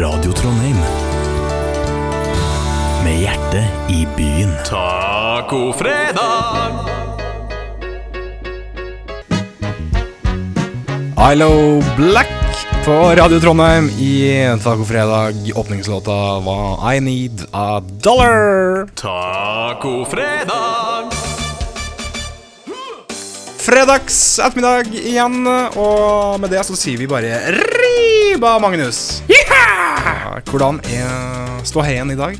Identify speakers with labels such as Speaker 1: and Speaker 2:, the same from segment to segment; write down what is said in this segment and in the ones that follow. Speaker 1: Radio Trondheim. Med hjertet i byen.
Speaker 2: Tacofredag!
Speaker 3: Ilo Black på Radio Trondheim i Tacofredag. Åpningslåta var I Need A Dollar.
Speaker 2: Tacofredag!
Speaker 3: Fredags ettermiddag igjen, og med det så sier vi bare riba, Magnus. Hvordan er ståheien i dag?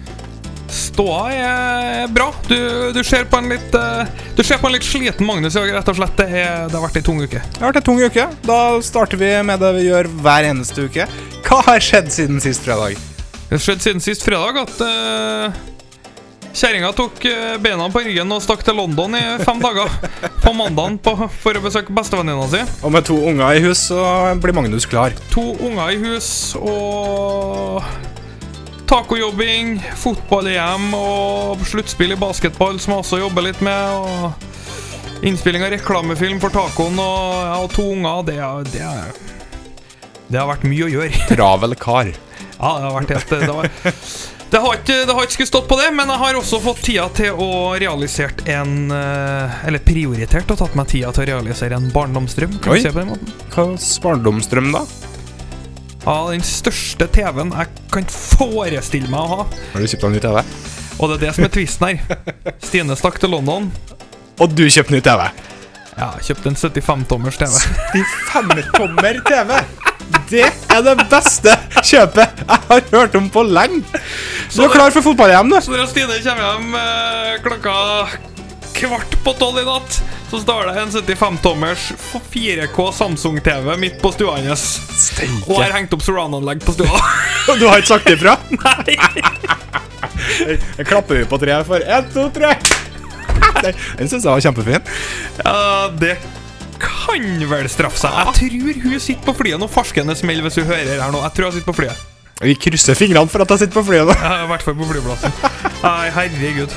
Speaker 4: Ståa er bra. Du, du, ser på en litt, eh, du ser på en litt sliten Magnus i dag, rett og slett. Det, er, det har vært ei tung uke.
Speaker 3: Det har vært en tung uke. Da starter vi med det vi gjør hver eneste uke. Hva har skjedd siden sist fredag?
Speaker 4: Det har skjedd siden sist fredag at uh, kjerringa tok eh, beina på ryggen og stakk til London i fem dager på mandagen på, for å besøke bestevenninna si.
Speaker 3: Og med to unger i hus så blir Magnus klar.
Speaker 4: To unger i hus og tacojobbing, fotball-EM og sluttspill i basketball, som jeg også jobber litt med. og Innspilling av reklamefilm for tacoen og, ja, og to unger. Det, er- det, er- det har vært mye å gjøre.
Speaker 3: Travel kar.
Speaker 4: Ja, det har vært helt Det, var, det, har, ikke, det har ikke skulle stått på det, men jeg har også fått tida til å realisert en eh, Eller prioritert og tatt meg tida til å realisere en barndomsdrøm. Kan
Speaker 3: Oi.
Speaker 4: du se på den måten?
Speaker 3: Hva er barndomsdrøm, da?
Speaker 4: Ja, Den største TV-en jeg kan forestille meg å ha.
Speaker 3: Har du kjøpt deg ny TV?
Speaker 4: Og det er det som er tvisten her. Stine stakk til London.
Speaker 3: Og du kjøpte ny TV?
Speaker 4: Ja, kjøpte en 75-tommers TV.
Speaker 3: 75-tommer TV. Det er det beste kjøpet jeg har hørt om på lenge. Du er klar for fotball-EM, du.
Speaker 4: Så når Stine kommer hjem eh, klokka kvart på tolv i natt, så står det en 75-tommers 4K Samsung-TV midt på stua hennes. Og har hengt opp Surround-anlegg på stua.
Speaker 3: Og du har ikke sagt ifra? Nei. Jeg klapper vi på treet for én, to, tre. Den- Den syns jeg var kjempefin.
Speaker 4: Ja, det kan vel straffe seg. Jeg tror hun sitter på flyet når farskene smeller hvis hun hører her nå. Jeg tror hun sitter på flyet.
Speaker 3: Vi krysser fingrene for at jeg sitter på flyet nå.
Speaker 4: Ja, I hvert fall på flyplassen. Nei, herregud.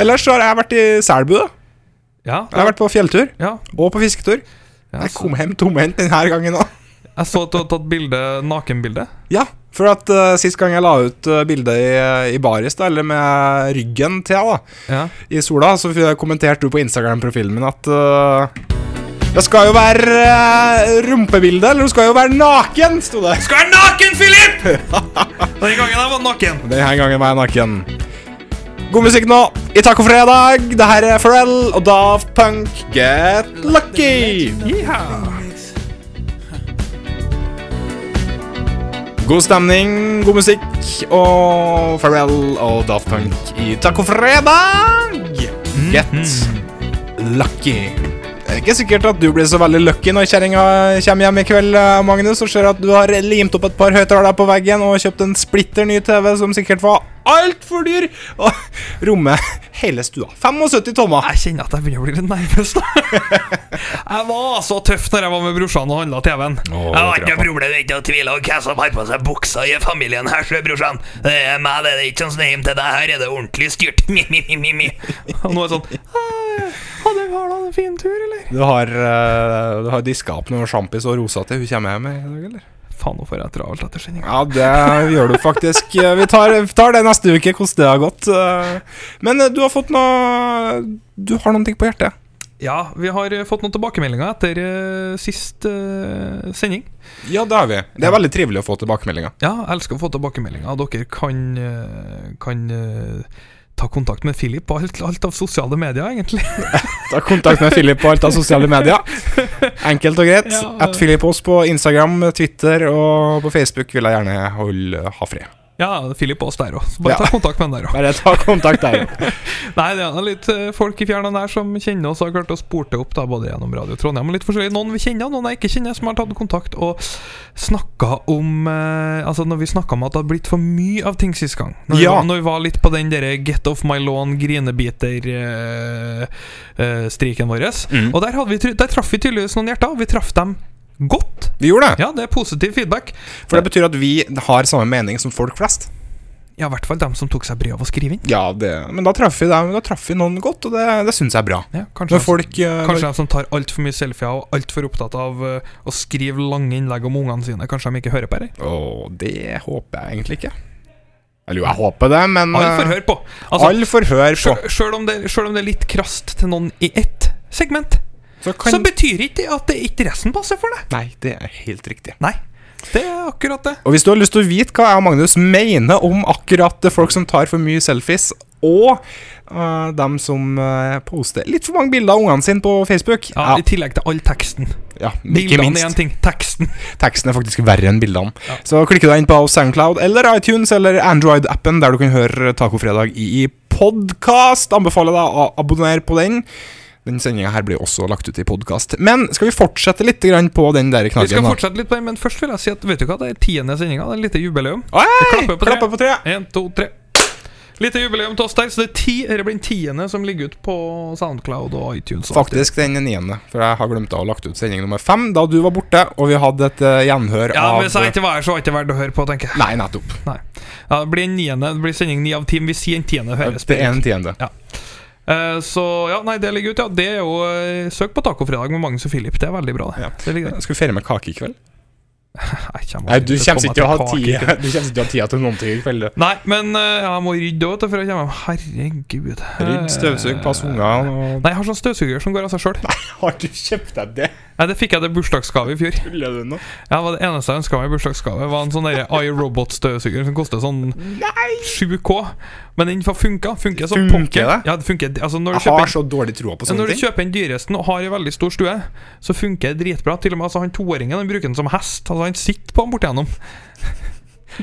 Speaker 3: Ellers så har jeg vært i Selbu. da.
Speaker 4: Ja,
Speaker 3: Jeg har vært på fjelltur
Speaker 4: ja.
Speaker 3: og på fisketur. Jeg kom hjem tomhendt denne gangen òg.
Speaker 4: Jeg så at du hadde tatt bilde, nakenbilde.
Speaker 3: Ja, for at eh, sist gang jeg la ut uh, bildet i, i baris, da, eller med ryggen til, da,
Speaker 4: Ja.
Speaker 3: i sola, så f- kommenterte du på Instagram-profilen min at eh, det skal jo være eh, rumpebilde, eller du skal jo være naken, sto det.
Speaker 4: Skal være naken, Philip! Den gangen jeg var naken.
Speaker 3: Denne gangen var jeg naken. God musikk nå i Tacofredag. Det her er Pharrell og Daft Punk. Get lucky! God stemning, god musikk og Pharrell og Daft Punk i Tacofredag. Get lucky. Det er ikke sikkert at du blir så veldig lucky når kjerringa kommer hjem i kveld, eh, Magnus, og ser at du har limt opp et par høyttalere på veggen og kjøpt en splitter ny TV som sikkert var altfor dyr, og rommet hele stua. 75 tommer.
Speaker 4: Jeg kjenner at jeg begynner å bli litt nervøs. nå. jeg var så tøff når jeg var med brorsan og handla TV-en.
Speaker 3: Å,
Speaker 4: jeg har
Speaker 3: det tror jeg
Speaker 4: ikke problem med å tvile om hvem som har på seg buksa i familien her, sjø, brorsan. Det er meg, det er ikke sånn hjem til deg. Her er det ordentlig styrt. Mi, mi, mi, mi, mi. Og nå er det sånn «Hei, Hadde vi hatt en fin tur, eller?
Speaker 3: Du har, eh, du har diska opp noe sjampis og rosa til hun kommer hjem i dag, eller?
Speaker 4: Faen, nå får jeg travelt etter sendinga.
Speaker 3: Ja, det gjør du faktisk. Vi tar, tar det neste uke, hvordan det har gått. Men du har fått noe Du har noen ting på hjertet.
Speaker 4: Ja, vi har eh, fått noen tilbakemeldinger etter eh, sist eh, sending.
Speaker 3: Ja, det har vi. Det er veldig trivelig å få tilbakemeldinger.
Speaker 4: Ja, jeg elsker å få tilbakemeldinger. Dere kan, eh, kan eh, ta kontakt med Philip på alt, alt av sosiale medier, egentlig.
Speaker 3: Ta kontakt med Philip på alt av sosiale medier. Enkelt og greit.
Speaker 4: Ja.
Speaker 3: At Philip oss på Instagram, Twitter og på Facebook vil jeg gjerne holde, ha fred.
Speaker 4: Ja, Philip og oss der òg. Bare
Speaker 3: Ja.
Speaker 4: ta kontakt med han der òg.
Speaker 3: Bare ta kontakt der.
Speaker 4: Nei, det er nå litt eh, folk i fjern og nær som kjenner oss og har klart å sporte opp da, både gjennom Radio Trondheim og litt forskjellig. Noen vi kjenner, noen jeg ikke kjenner, som har tatt kontakt og snakka om eh, Altså, når vi snakka om at det hadde blitt for mye av ting sist gang. Når, vi,
Speaker 3: Ja.
Speaker 4: var, når vi var litt på den derre get off my lawn, grinebiter-striken vår.
Speaker 3: Mm.
Speaker 4: Og der, hadde vi, try- der traff vi tydeligvis noen hjerter, og vi traff dem godt.
Speaker 3: Vi gjorde det.
Speaker 4: Ja, det er positiv feedback.
Speaker 3: For det betyr at vi har samme mening som folk flest.
Speaker 4: Ja, i hvert fall dem som tok seg bryet av å skrive inn.
Speaker 3: Ja, det, men da traff vi dem, da traff vi noen godt, og det, det syns jeg er bra.
Speaker 4: Ja, kanskje
Speaker 3: Når
Speaker 4: dem som-
Speaker 3: folk eh, når-
Speaker 4: Kanskje de som tar altfor mye selfier og altfor opptatt av eh, å skrive lange innlegg om ungene sine, kanskje de ikke hører på det?
Speaker 3: Å, det håper jeg egentlig ikke. Eller jo, jeg håper det, men
Speaker 4: Alle får
Speaker 3: eh,
Speaker 4: høre på! Altså,
Speaker 3: all får høre på.
Speaker 4: sjø- sjøl om, det- sjøl om det er litt krast til noen i ett segment,
Speaker 3: Så kan
Speaker 4: så betyr ikke det at det ikke resten passer for deg.
Speaker 3: Nei, det er helt riktig.
Speaker 4: Nei, det er akkurat det.
Speaker 3: Og hvis du har lyst til å vite hva jeg og Magnus mener om akkurat det folk som tar for mye selfies, og øh, dem som øh, poster litt for mange bilder av ungene sine på Facebook
Speaker 4: Ja, I tillegg til all teksten.
Speaker 3: ja, ikke
Speaker 4: Bildene er en
Speaker 3: minst.
Speaker 4: ting, teksten
Speaker 3: Teksten er faktisk verre enn bildene.
Speaker 4: Ja.
Speaker 3: Så klikker du deg inn på Soundcloud eller iTunes eller Android-appen, der du kan høre Tacofredag i podkast. Anbefaler deg å abonnere på den. Den sendinga her blir også lagt ut i podkast. Men skal vi fortsette litt grann på den der
Speaker 4: Vi skal
Speaker 3: knaggen? da?
Speaker 4: fortsette litt på det, men først vil jeg si at vet du hva, det er tiende sendinga. Det er et lite jubileum.
Speaker 3: Oi,
Speaker 4: klapper på tre.
Speaker 3: klapper på tre!
Speaker 4: Én, to, tre. Lite jubileum til oss der, så det er ti, dette blir den tiende som ligger ut på Soundcloud og iTunes. og alt det.
Speaker 3: Faktisk den niende, for jeg har glemt å ha lagt ut sending nummer fem da du var borte, og vi hadde et eh, gjenhør
Speaker 4: Ja,
Speaker 3: av
Speaker 4: men Hvis jeg ikke var her, så var det ikke verdt å høre på, tenker jeg.
Speaker 3: Nei, nettopp.
Speaker 4: Ja, det blir en niende, det blir sending ni av ti, men vi sier en tiende. høres
Speaker 3: Det er en tiende.
Speaker 4: Eh, Så ja, nei, det ligger ute. Ja. Det er jo eh, Søk på Tacofredag med Magnus og Philip. Det er veldig bra, det.
Speaker 3: Ja.
Speaker 4: det ligger der.
Speaker 3: Skal vi feire med kake i kveld?
Speaker 4: Nei, jeg kommer
Speaker 3: Nei, du
Speaker 4: aldri til å
Speaker 3: kommer
Speaker 4: komme
Speaker 3: ikke til å ha
Speaker 4: kake.
Speaker 3: tid Du kommer ikke til å ha tid til noen ting i kveld. du.
Speaker 4: Nei, men eh, jeg må rydde òg, for å komme meg Herregud.
Speaker 3: Rydd, støvsug, pass ungene og
Speaker 4: Nei, jeg har sånn støvsuger som går av seg sjøl.
Speaker 3: Har du kjøpt deg det?
Speaker 4: Nei, det fikk jeg til bursdagsgave i fjor.
Speaker 3: Tuller du nå?
Speaker 4: Ja, det var Det eneste jeg ønska meg i bursdagsgave, var en sånn der iRobot-støvsuger som koster sånn 7K. Men den funka. Funker som
Speaker 3: Funker
Speaker 4: pokker.
Speaker 3: det?
Speaker 4: Ja, det funker. Altså, når du
Speaker 3: Jeg
Speaker 4: kjøper
Speaker 3: har så dårlig troa på
Speaker 4: Men
Speaker 3: sånne
Speaker 4: Når du
Speaker 3: ting.
Speaker 4: kjøper den dyresten og har en veldig stor stue, så funker det dritbra. Til og med altså, han toåringen han bruker den som hest. Altså, han sitter på den bortigjennom.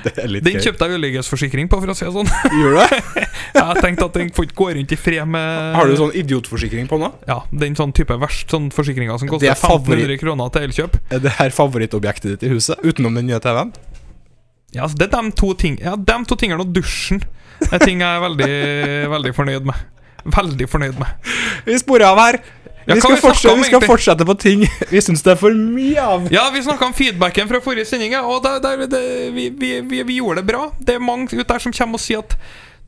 Speaker 3: Det er litt
Speaker 4: Den
Speaker 3: gøy.
Speaker 4: kjøpte jeg ulykkesforsikring på, for å si det sånn.
Speaker 3: Gjør du det?
Speaker 4: Jeg tenkte at den får ikke gå rundt i fred med
Speaker 3: Har du sånn idiotforsikring på nå?
Speaker 4: Ja, den sånn type verst sånn forsikringa som koster
Speaker 3: Det er favoritt.
Speaker 4: 1500 kroner til elkjøp.
Speaker 3: Er det her favorittobjektet ditt i huset? Utenom den nye TV-en?
Speaker 4: Ja, altså, det er de to ting Ja, de to tingene og dusjen er ting jeg er veldig, veldig fornøyd med. Veldig fornøyd med.
Speaker 3: Vi sporer av her. Vi
Speaker 4: Ja, hva
Speaker 3: skal,
Speaker 4: vi snakker
Speaker 3: fortsette,
Speaker 4: om
Speaker 3: vi skal
Speaker 4: egentlig?
Speaker 3: fortsette på ting vi syns det er for mye av.
Speaker 4: Ja, vi snakka om feedbacken fra forrige sending, ja, og der, der, det- vi, vi, vi, vi gjorde det bra. Det er mange ut der som kommer og sier at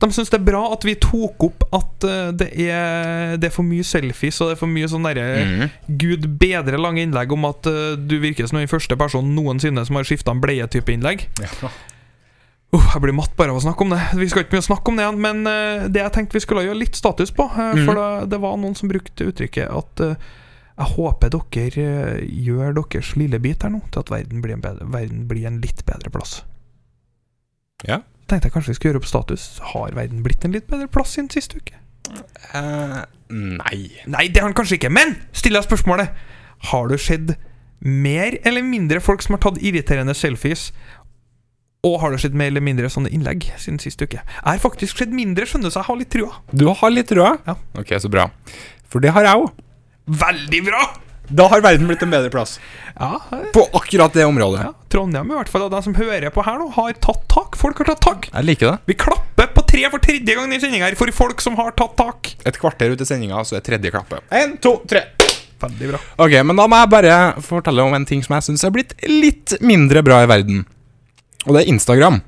Speaker 4: de syns det er bra at vi tok opp at eh, det, er, det er for mye selfies og det er for mye sånn derre
Speaker 3: Mm.
Speaker 4: Gud bedre lange innlegg om at eh, du virker som den første personen noensinne som har skifta en bleietype innlegg.
Speaker 3: Ja.
Speaker 4: Uh, jeg blir matt bare av å snakke om det. Vi skal ikke mye snakke om det igjen, men eh, det jeg tenkte vi skulle gjøre litt status på, eh,
Speaker 3: Mhm.
Speaker 4: for det, det var noen som brukte uttrykket at eh, jeg håper dere eh, gjør deres lille bit her nå til at verden blir en, bedre, verden blir en litt bedre plass.
Speaker 3: Ja.
Speaker 4: Tenkte jeg kanskje vi skulle gjøre opp status. Har verden blitt en litt bedre plass siden sist uke?
Speaker 3: Eh, nei.
Speaker 4: Nei, det har den kanskje ikke, men still deg spørsmålet. Har du sett mer eller mindre folk som har tatt irriterende selfies? Og har du sett mer eller mindre sånne innlegg siden sist uke? Jeg har faktisk sett mindre, skjønner du, så jeg har litt trua.
Speaker 3: Du har litt rød?
Speaker 4: Ja.
Speaker 3: Ok, så bra. For det har jeg òg.
Speaker 4: Veldig bra!
Speaker 3: Da har verden blitt en bedre plass.
Speaker 4: Ja, eh,
Speaker 3: På akkurat det området.
Speaker 4: ja, Trondheim i hvert fall, og de som hører på her nå, har tatt tak. Folk har tatt tak.
Speaker 3: Jeg liker det.
Speaker 4: Vi klapper på tre for tredje gang i sendinga her for folk som har tatt tak.
Speaker 3: Et kvarter ut i sendinga, så er tredje klappe. En, to, tre.
Speaker 4: Veldig bra.
Speaker 3: Ok, men da må jeg bare fortelle om en ting som jeg syns er blitt litt mindre bra i verden. Og det er Instagram,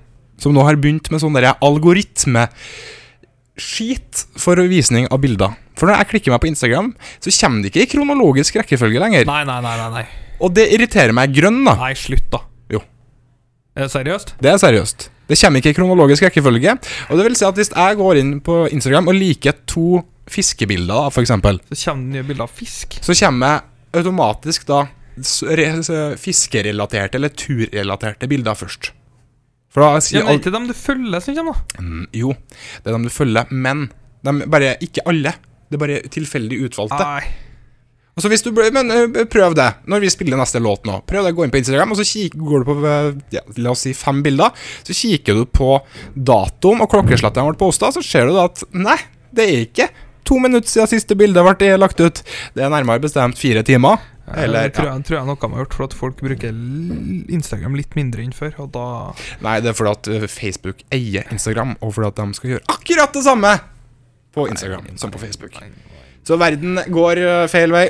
Speaker 3: som nå har begynt med sånn derre algoritmeskit for visning av bilder. For når jeg klikker meg på Instagram, så kommer det ikke i kronologisk rekkefølge lenger.
Speaker 4: Nei, nei, nei, nei. Nei,
Speaker 3: Og det irriterer meg grønn, da.
Speaker 4: nei slutt, da.
Speaker 3: Jo.
Speaker 4: Er det seriøst?
Speaker 3: Det er seriøst. Det kommer ikke i kronologisk rekkefølge. Og det vil si at hvis jeg går inn på Instagram og liker to fiskebilder, da, for eksempel,
Speaker 4: Så kommer det nye bilder av fisk.
Speaker 3: så kommer jeg automatisk da s- re- s- fiskerelaterte eller turrelaterte bilder først. For da
Speaker 4: Ja,
Speaker 3: sier
Speaker 4: men er det
Speaker 3: alt
Speaker 4: ikke dem du følger som kommer, da?
Speaker 3: Jo, det er dem du følger, men de bare ikke alle. Det er bare tilfeldig utvalgte.
Speaker 4: Nei.
Speaker 3: Og så hvis du, blir- men ø, prøv det når vi spiller neste låt nå. Prøv det, Gå inn på Instagram, og så kik, går du på ø, ja, la oss si fem bilder. Så kikker du på datoen og klokkeslettet den ble posta, så ser du da at nei, det er ikke to minutter siden siste bilde ble lagt ut. Det er nærmere bestemt fire timer. Eller
Speaker 4: det tror, jeg, tror jeg noe har gjort, for at folk bruker l- Instagram litt mindre enn før. Og da
Speaker 3: Nei, det er fordi at ø, Facebook eier Instagram, og fordi at de skal gjøre akkurat det samme på Instagram eh, som på Facebook. Så verden går ø, feil vei.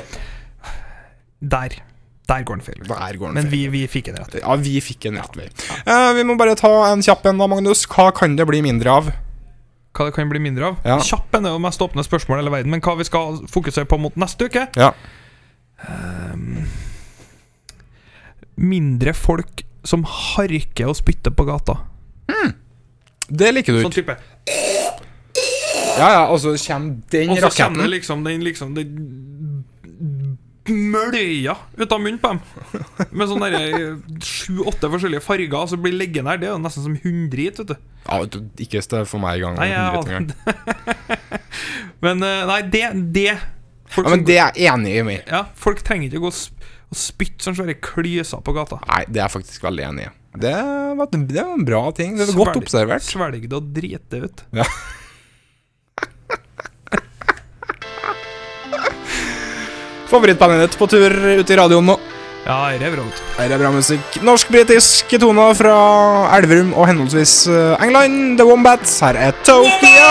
Speaker 4: Der. Der går den feil. vei.
Speaker 3: Der går den
Speaker 4: Men
Speaker 3: feil.
Speaker 4: vi, vi fikk den rett.
Speaker 3: Ja, vi fikk en rett vei. Eh, vi må bare ta en kjapp en, da, Magnus. Hva kan det bli mindre av?
Speaker 4: Hva det kan bli mindre av?
Speaker 3: Ja.
Speaker 4: Kjappen er jo det mest åpne spørsmålet i hele verden, men hva vi skal fokusere på mot neste uke?
Speaker 3: Ja.
Speaker 4: Ehm, mindre folk som harker og spytter på gata.
Speaker 3: Det liker du
Speaker 4: Sånn
Speaker 3: ikke.
Speaker 4: type.
Speaker 3: Ja, ja, og så kommer den
Speaker 4: Og så kommer det
Speaker 3: raketten.
Speaker 4: liksom den liksom den mølja ut av munnen på dem. Med sånn sju-åtte forskjellige farger, og så blir liggende her. Det er jo nesten som hunddrit, vet du.
Speaker 3: Ja, vet du, ikke stå for meg i gang.
Speaker 4: Nei, jeg,
Speaker 3: hundrete gang.
Speaker 4: men eh, nei, det, det folk,
Speaker 3: Ja, men
Speaker 4: som-
Speaker 3: det er jeg enig i.
Speaker 4: ja, folk trenger ikke å gå og sp- og spytte sånne svære klyser på gata.
Speaker 3: Nei, det er jeg faktisk veldig enig i. Det var, det var en bra ting. Det var godt
Speaker 4: Svelg-
Speaker 3: observert.
Speaker 4: Svelg det og drit det ut.
Speaker 3: Ja. Favorittbandet ditt på tur ut i radioen nå.
Speaker 4: Ja, det er bra. vet du.
Speaker 3: Her er bra musikk. Norsk-britisk toner fra Elverum og henholdsvis eh, England. The Wombats. Her er Tokyo!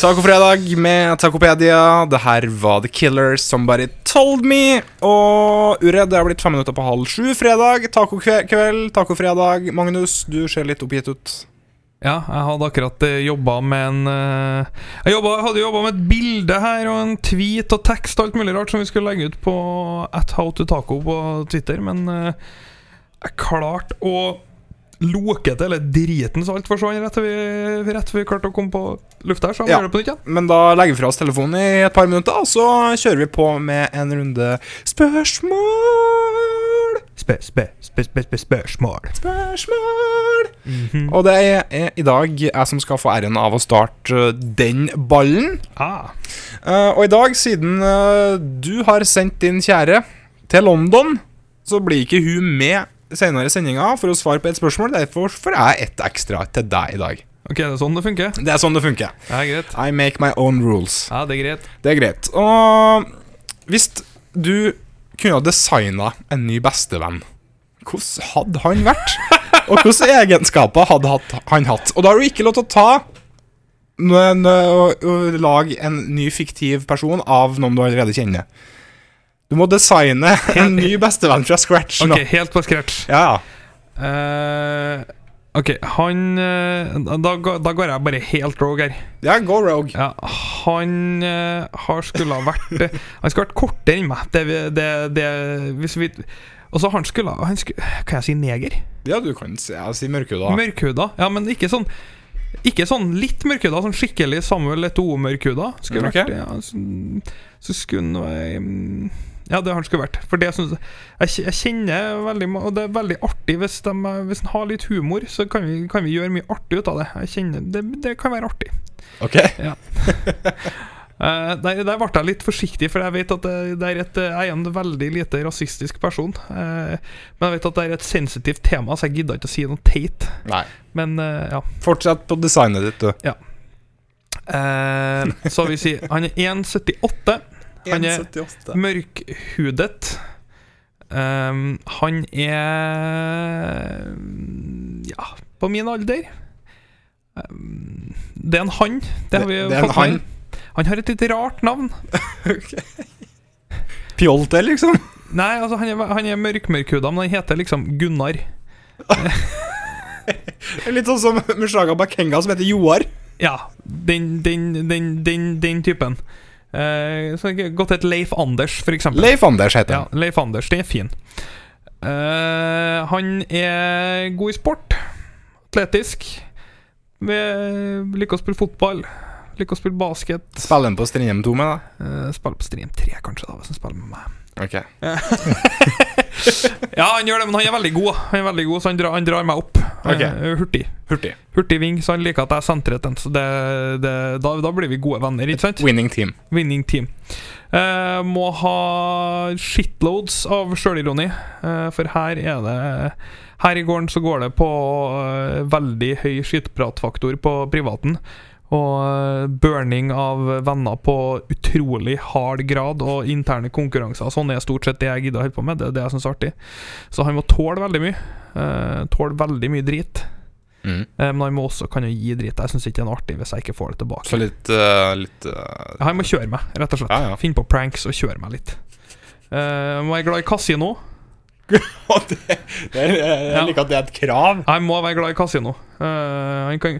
Speaker 3: Tacofredag med Tacopedia. Det her var The Killers, Somebody Told Me. Og Ure, det er blitt fem minutter på halv sju fredag. Tacokveld, tacofredag. Magnus, du ser litt oppgitt ut.
Speaker 4: Ja, jeg hadde akkurat eh, jobba med en eh, Jeg jobba, hadde jobba med et bilde her og en tweet og tekst og alt mulig rart som vi skulle legge ut på at how to taco på Twitter, men eh, jeg klarte å loke til hele driten så alt forsvant rett før vi, rett før vi klarte å komme på lufta her, så jeg
Speaker 3: Ja.
Speaker 4: må gjøre det på nytt igjen.
Speaker 3: Men da legger vi fra oss telefonen i et par minutter, og så kjører vi på med en runde spørsmål.
Speaker 4: Spø, spø, spø, spø, spø, spørsmål.
Speaker 3: Spørsmål.
Speaker 4: Mhm.
Speaker 3: Og det er, er i dag jeg som skal få æren av å starte øh, den ballen.
Speaker 4: Ah,
Speaker 3: Eh, og i dag, siden øh, du har sendt din kjære til London, så blir ikke hun med senere i sendinga for å svare på et spørsmål. Derfor får jeg et ekstra til deg i dag.
Speaker 4: ok, det er sånn det funker.
Speaker 3: Det er sånn det funker.
Speaker 4: Ja, greit.
Speaker 3: I make my own rules.
Speaker 4: Ja, det er greit.
Speaker 3: Det er greit. Og hvis du kunne ha designa en ny bestevenn, hvordan hadde han vært? Og hvilke egenskaper hadde hatt- han hatt? Og da har du ikke lov til å ta men, øh, å- å lage en ny fiktiv person av noen du allerede kjenner. Du må designe en ny bestevenn fra scratch nå.
Speaker 4: Ok, helt på scratch.
Speaker 3: Ja, ja.
Speaker 4: Eh, ok, han eh, da, ga- da går jeg bare helt rogue her.
Speaker 3: ja, go rogue.
Speaker 4: Ja, han eh, har skulle ha vært eh, Han skulle ha vært kortere enn meg. Det, vi- det, det, hvis vi Og så han skulle ha han skulle, Kan jeg si neger?
Speaker 3: Ja, du kan si, ja, si mørkhuda.
Speaker 4: Mørkhuda. Ja, men ikke sånn Ikke sånn litt mørkhuda, sånn skikkelig Samuel Eto'o-mørkhuda. Skulle
Speaker 3: Ok.
Speaker 4: vært ja, sånn- Så skulle han være, mm, Ja, det han skulle vært. For det synes jeg kj- Jeg kjenner veldig ma- Og det er veldig artig hvis de Hvis han har litt humor, så kan vi, kan vi gjøre mye artig ut av det. Jeg kjenner Det, det kan være artig.
Speaker 3: Ok,
Speaker 4: Eh, der, der ble jeg litt forsiktig, for jeg vet at det, det er et, eh, jeg er en veldig lite rasistisk person. eh, men jeg vet at det er et sensitivt tema, så jeg gidder ikke å si noe teit.
Speaker 3: Nei.
Speaker 4: Men eh, ja.
Speaker 3: Fortsett på designet ditt, du.
Speaker 4: Eh, så vi sier Han er 1,78 Han er-
Speaker 3: 1,78.
Speaker 4: Mørkhudet Ehm, Han er Ja, på min alder Ehm, Det er en han Det har vi
Speaker 3: Det- det er en
Speaker 4: fått med.
Speaker 3: han.
Speaker 4: Han har et litt rart navn
Speaker 3: Pjolte, liksom.
Speaker 4: Nei, altså han er, han er mørkmørkhuda Men han heter liksom Gunnar
Speaker 3: Litt sånn som Mushaga Bakenga som heter Joar.
Speaker 4: Ja, den, den, den, den, den typen uh, Så jeg har gått et Leif Anders for eksempel
Speaker 3: Leif Anders heter
Speaker 4: Ja,
Speaker 3: han.
Speaker 4: Leif Anders, den er fin. Eh, han er god i sport. Atletisk. Vi liker å spille fotball. Liker å spille basket.
Speaker 3: Spiller han på Strindheim 2 med, da?
Speaker 4: Uh, spiller på Stream 3, kanskje, da, hvis han spiller med meg.
Speaker 3: Ok.
Speaker 4: Ja, han gjør det, men han er veldig god, da. han er veldig god så han drar, han drar meg opp.
Speaker 3: Ok.
Speaker 4: Eh, hurtig.
Speaker 3: Hurtig.
Speaker 4: Hurtig ving, så han liker at jeg sentrer den. Så det, det, da, da blir vi gode venner, ikke sant?
Speaker 3: Winning team.
Speaker 4: Winning team. Eh, må ha shitloads av sjølironi, eh, for her er det Her i gården så går det på eh, veldig høy skittpratfaktor på privaten. Og eh, burning av venner på utrolig hard grad, og interne konkurranser. Sånn er stort sett det jeg gidder å holde på med. Det er det jeg syns er artig. Så han må tåle veldig mye. Eh, tåle veldig mye drit.
Speaker 3: Mm.
Speaker 4: Eh, men han må også kan jo gi drit. Jeg syns ikke det er noe artig hvis jeg ikke får det tilbake.
Speaker 3: Så litt, eh, litt eh,
Speaker 4: Han må kjøre meg, rett og slett.
Speaker 3: Ja, ja.
Speaker 4: Finne på pranks og kjøre meg litt. Eh, må være glad i kasino.
Speaker 3: Og det, det er, jeg
Speaker 4: Ja.
Speaker 3: liker at det er et krav.
Speaker 4: Jeg må være glad i kasino. Eh, han, kan,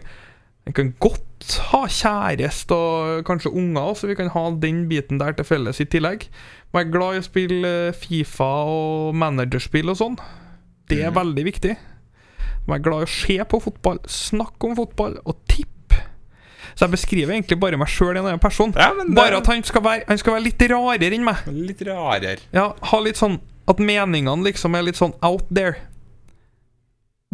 Speaker 4: han kan godt ha kjæreste og kanskje unger, så vi kan ha den biten der til felles i tillegg. Må være glad i å spille eh, Fifa og managerspill og sånn. Det
Speaker 3: Mhm.
Speaker 4: er veldig viktig. Må være glad i å se på fotball, snakke om fotball og tippe. Så jeg beskriver egentlig bare meg sjøl i en annen person.
Speaker 3: Ja, men det-
Speaker 4: Bare at han skal, være, han skal være litt rarere enn meg.
Speaker 3: Litt rarere.
Speaker 4: Ja, ha litt sånn At meningene liksom er litt sånn out there.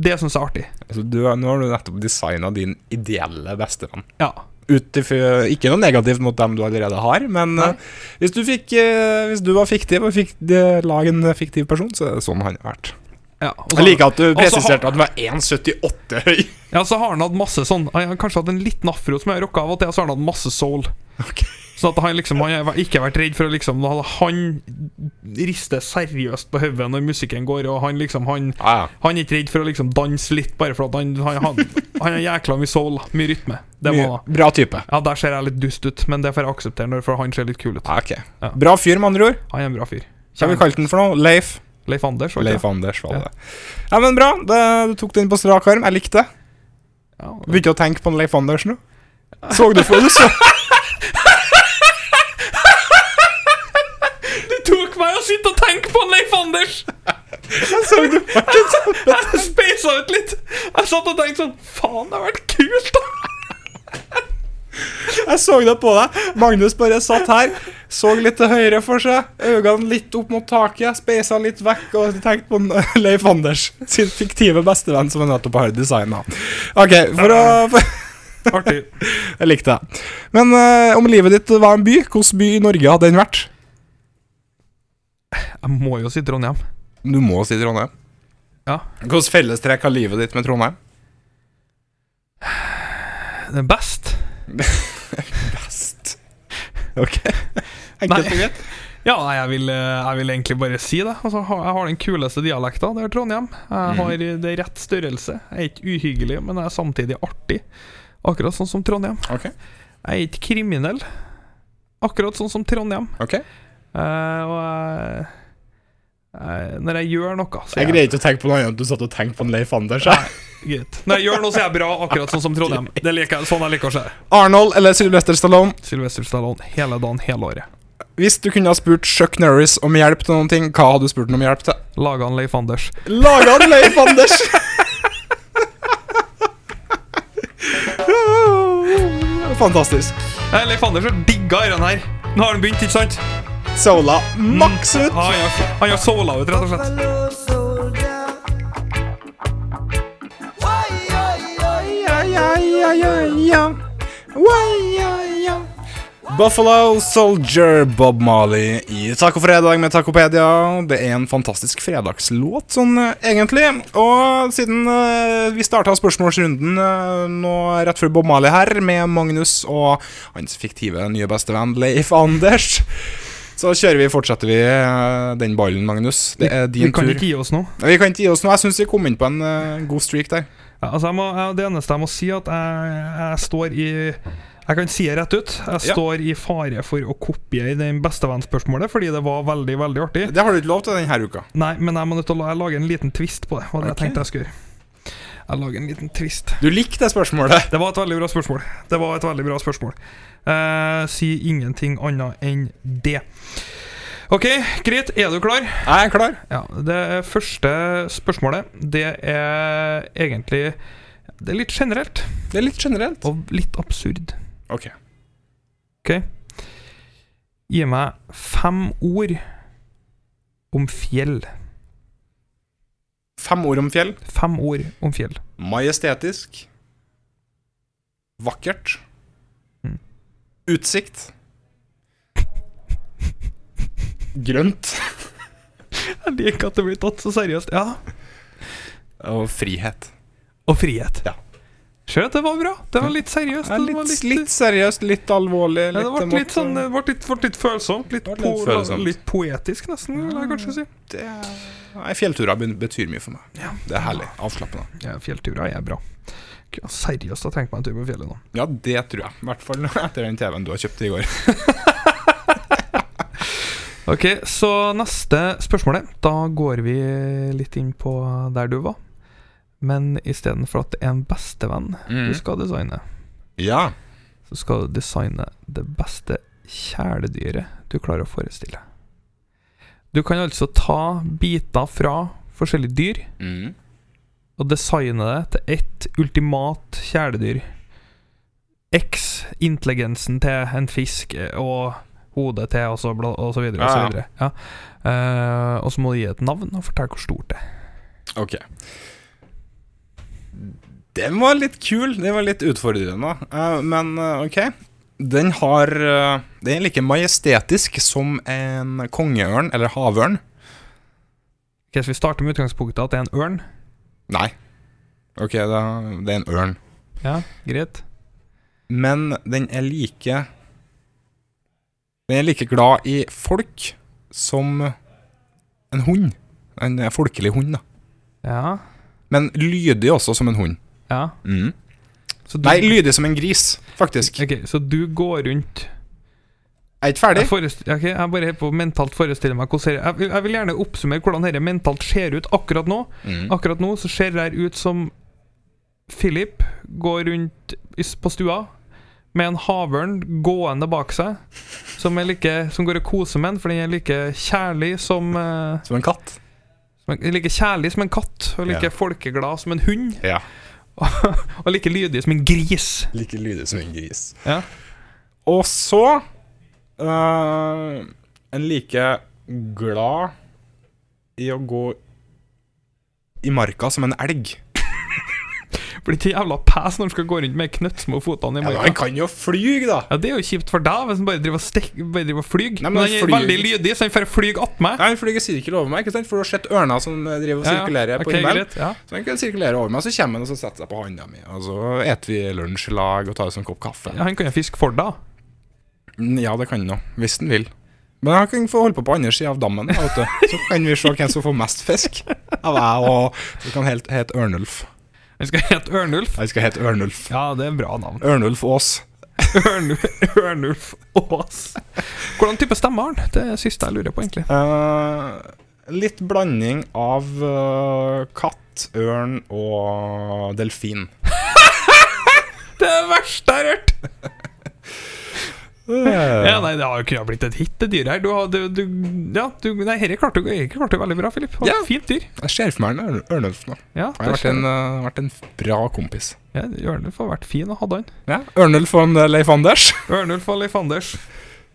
Speaker 4: Det syns jeg er artig.
Speaker 3: Altså, du, nå har du nettopp designa din ideelle bestevenn.
Speaker 4: Ja.
Speaker 3: Ut ifra- ikke noe negativt mot dem du allerede har, men
Speaker 4: Nei.
Speaker 3: eh, hvis, du fikk, eh, hvis du var fiktiv og fikk eh, lag en fiktiv person, så er det sånn han har vært.
Speaker 4: ja. Og så-
Speaker 3: Jeg liker at du
Speaker 4: og så har-
Speaker 3: presiserte at han var 1,78 høy.
Speaker 4: Ja, så har han hatt masse sånn Han har kanskje hatt en liten afro som jeg har rocka av og til, og så har han hatt masse soul.
Speaker 3: Ok.
Speaker 4: Sånn at han liksom Han har ikke vært redd for å liksom Han rister seriøst på hodet når musikken går, og han liksom Han,
Speaker 3: Ja, ja.
Speaker 4: han er ikke redd for å liksom danse litt, bare for at han Han, han, han er jækla mye soul, mye rytme. Det må han ha.
Speaker 3: Mye- Bra type.
Speaker 4: Ja, der ser jeg litt dust ut, men det får jeg akseptere, når- for han ser litt kul ut.
Speaker 3: Ja, ok.
Speaker 4: Ja.
Speaker 3: Bra fyr, med andre ord.
Speaker 4: Han er en bra fyr.
Speaker 3: Hva har vi kalt den for noe? Leif?
Speaker 4: Leif Anders, var ikke
Speaker 3: Leif
Speaker 4: det?
Speaker 3: Anders, var
Speaker 4: Ja.
Speaker 3: det. Ja, men bra. Det, du tok den på strak arm. Jeg likte det.
Speaker 4: Ja,
Speaker 3: Begynte å tenke på en Leif Anders nå. Så du for du så
Speaker 4: Det tok meg å sitte og tenke på Leif Anders!
Speaker 3: så du
Speaker 4: Jeg speisa ut litt. Jeg satt og tenkte sånn Faen, det har vært kult, da!
Speaker 3: Jeg så det på deg. Magnus bare satt her, så litt til høyre for seg, øynene litt opp mot taket, speisa litt vekk og tenkte på en Leif Anders, sin fiktive bestevenn som han nettopp har designa. OK, for å for,
Speaker 4: Artig.
Speaker 3: Jeg likte det. Men eh, om livet ditt var en by, hvilken by i Norge hadde den vært?
Speaker 4: Jeg må jo si Trondheim.
Speaker 3: Du må si Trondheim.
Speaker 4: Ja.
Speaker 3: Hvilket fellestrekk har livet ditt med Trondheim?
Speaker 4: Det er best.
Speaker 3: Best. OK. Enkelt og greit.
Speaker 4: Ja, nei, jeg vil, eh, jeg vil egentlig bare si det. Altså, ha- jeg har den kuleste dialekta. Det er Trondheim.
Speaker 3: Mhm.
Speaker 4: Jeg har eh, det er rett størrelse. Jeg er ikke uhyggelig, men jeg er samtidig artig. Akkurat sånn som Trondheim.
Speaker 3: Ok.
Speaker 4: Jeg er ikke kriminell. Akkurat sånn som Trondheim.
Speaker 3: ok.
Speaker 4: Eh, og jeg, jeg, når jeg gjør noe, så
Speaker 3: Jeg
Speaker 4: er
Speaker 3: greier ikke å tenke på noe annet enn du satt og tenkte på en Leif Anders. jeg.
Speaker 4: Greit. Når jeg gjør noe, så er jeg bra, akkurat sånn som Trondheim. Det liker jeg, sånn jeg liker å se det.
Speaker 3: Arnold eller Sylvester Stallone?
Speaker 4: Sylvester Stallone hele dagen, hele året.
Speaker 3: Hvis du kunne ha spurt Chuck Norris om hjelp til noen ting, hva hadde du spurt han om hjelp til?
Speaker 4: Laga han Leif Anders.
Speaker 3: Laga han Leif Anders! Fantastisk.
Speaker 4: Nei, Leif Anders har digga den her. Nå har han begynt, ikke sant?
Speaker 3: Sola maks ut.
Speaker 4: Ah, han har- han har sola ut, rett og slett.
Speaker 3: Ja, ja, ja, ja, ja. Oi, ja, ja. Buffalo Soldier Bob Marley i Tacofredag med Tacopedia. Det er en fantastisk fredagslåt, sånn eh, egentlig. Og siden eh, vi starta spørsmålsrunden eh, nå rett før Bob Marley her, med Magnus og hans fiktive nye bestevenn Leif Anders, så kjører vi, fortsetter vi eh, den ballen, Magnus. Det er din
Speaker 4: Vi kan
Speaker 3: tur.
Speaker 4: ikke gi oss nå.
Speaker 3: Vi kan ikke gi oss noe. Jeg syns vi kom inn på en eh, god streak der.
Speaker 4: Ja, altså, jeg må, jeg, det eneste jeg må si, at jeg, jeg står i Jeg kan si det rett ut. Jeg
Speaker 3: Ja.
Speaker 4: står i fare for å kopiere den bestevennspørsmålet, fordi det var veldig, veldig artig.
Speaker 3: Det har du ikke lov til denne uka.
Speaker 4: Nei, men jeg må nødt til å la- jeg lage en liten twist på det. Var
Speaker 3: Ok.
Speaker 4: det jeg tenkte jeg skulle gjøre. Jeg lager en liten twist.
Speaker 3: Du likte det spørsmålet.
Speaker 4: Det var et veldig bra spørsmål. Det var et veldig bra spørsmål. Eh, si ingenting annet enn det. Ok, greit. Er du klar?
Speaker 3: Jeg er klar.
Speaker 4: Ja, Det første spørsmålet, det er egentlig Det er litt generelt
Speaker 3: Det er litt generelt.
Speaker 4: og litt absurd.
Speaker 3: Ok.
Speaker 4: Ok? Gi meg fem ord om fjell.
Speaker 3: Fem ord om fjell.
Speaker 4: Fem ord om fjell.
Speaker 3: Majestetisk. Vakkert.
Speaker 4: Mm.
Speaker 3: Utsikt. Grønt.
Speaker 4: Jeg liker at det blir tatt så seriøst. Ja.
Speaker 3: Og frihet.
Speaker 4: Og frihet.
Speaker 3: Ja.
Speaker 4: Ser at det var bra. Det var litt seriøst.
Speaker 3: Ja,
Speaker 4: det var
Speaker 3: litt, litt seriøst, litt alvorlig.
Speaker 4: ja, det ble
Speaker 3: en
Speaker 4: litt,
Speaker 3: måte-
Speaker 4: sånn, det ble litt, ble litt følsomt. Litt,
Speaker 3: Det ble
Speaker 4: po
Speaker 3: litt følsomt.
Speaker 4: litt poetisk, nesten, vil jeg kanskje si.
Speaker 3: Det er- Nei, fjellturer be- betyr mye for meg. Det er herlig. Avslappende.
Speaker 4: Ja, Fjellturer er bra. Gud, Seriøst, jeg trenger meg en tur på fjellet nå.
Speaker 3: Ja, det tror jeg. I hvert fall etter den TV-en du har kjøpt i går.
Speaker 4: Ok, så neste spørsmålet. Da går vi litt inn på der du var. Men istedenfor at det er en bestevenn du skal designe,
Speaker 3: Ja.
Speaker 4: så skal du designe det beste kjæledyret du klarer å forestille. Du kan altså ta biter fra forskjellige dyr
Speaker 3: Mm.
Speaker 4: og designe det til ett ultimat kjæledyr. X intelligensen til en fisk eh, og hodet til og så, bla, og så videre. Og
Speaker 3: Ja, ja.
Speaker 4: så, videre. Ja. Eh, og så må du gi et navn og fortelle hvor stort det er.
Speaker 3: Ok. Den var litt kul. Den var litt utfordrende. eh, men eh, ok. Den har eh, Den er like majestetisk som en kongeørn eller havørn.
Speaker 4: Ok, så vi starter med utgangspunktet at det er en ørn.
Speaker 3: Nei. Ok, da, det er en ørn.
Speaker 4: Ja, greit.
Speaker 3: Men den er like Den er like glad i folk som en hund. En eh, folkelig hund, da.
Speaker 4: Ja,
Speaker 3: Men lydig også som en hund.
Speaker 4: ja.
Speaker 3: Mm.
Speaker 4: Så du,
Speaker 3: Nei, lydig som en gris, faktisk.
Speaker 4: Ok, så du går rundt
Speaker 3: Jeg er ikke ferdig.
Speaker 4: jeg, forest- ok, jeg bare helt på mentalt forestiller meg hvordan dette- jeg, vil- jeg vil gjerne oppsummere hvordan dette mentalt ser ut akkurat nå.
Speaker 3: Mm.
Speaker 4: Akkurat nå så ser det her ut som Philip går rundt i s- på stua med en havørn gående bak seg, som, er like, som går og koser med den, for den er like kjærlig som, eh,
Speaker 3: Som en katt.
Speaker 4: som en- Like kjærlig som en katt, og like
Speaker 3: Ja.
Speaker 4: folkeglad som en hund,
Speaker 3: Ja.
Speaker 4: og like lydig som en gris.
Speaker 3: Like lydig som en gris.
Speaker 4: Ja.
Speaker 3: Og så eh, En like glad i å gå i marka som en elg.
Speaker 4: Blir ikke jævla pes når han skal gå rundt med knøttsmå fotene i
Speaker 3: Ja, men
Speaker 4: marka.
Speaker 3: han kan jo fly, da.
Speaker 4: Ja, Det er jo kjipt for deg hvis han bare driver og stek- bare driver og flyr.
Speaker 3: Nei,
Speaker 4: Men,
Speaker 3: men
Speaker 4: han er
Speaker 3: flyr-
Speaker 4: veldig lydig, så han får flyge att meg.
Speaker 3: Nei, han flyger sirkel over meg, ikke sant? for du har sett ørna som driver og sirkulerer på
Speaker 4: ok,
Speaker 3: himmelen.
Speaker 4: greit, ja.
Speaker 3: Så han kan sirkulere over meg, så kommer han og så setter seg på handa mi. Og så eter vi lunsj i lag og tar oss en kopp kaffe.
Speaker 4: Ja, Han kan jo fiske for deg.
Speaker 3: Mm, Ja, det kan han òg, hvis han vil. Men han kan få holde på på andre sida av dammen, da, vet du. så kan vi se hvem som får mest fisk. Av jeg og Så kan han helt hete Ørnulf.
Speaker 4: Han skal hete Ørnulf.
Speaker 3: Jeg skal hete Ørnulf.
Speaker 4: Ja, det er en bra navn.
Speaker 3: Ørnulf Aas.
Speaker 4: Ørnulf, Ørnulf Aas. Hvordan type stemme har han? Det er det siste jeg lurer på, egentlig.
Speaker 3: Eh, litt blanding av eh, katt, ørn og delfin.
Speaker 4: Det er det verste jeg har hørt! Ja,
Speaker 3: Eh,
Speaker 4: nei, Det har jo kunnet blitt et hit, det dyret her. Du, har- du, du, ja, du, nei, Dette klarte du dette klarte du veldig bra, Filip. Det var
Speaker 3: Ja.
Speaker 4: et Fint dyr.
Speaker 3: Jeg ser for meg en Ørn- Ørnulf nå.
Speaker 4: Ja,
Speaker 3: Han har
Speaker 4: det
Speaker 3: vært en,
Speaker 4: skjer.
Speaker 3: eh, vært en bra kompis.
Speaker 4: ja, Ørnulf har vært fin å ha han.
Speaker 3: Ja. Ørnulf og en eh, Leif Anders.
Speaker 4: Ørnulf og Leif Anders.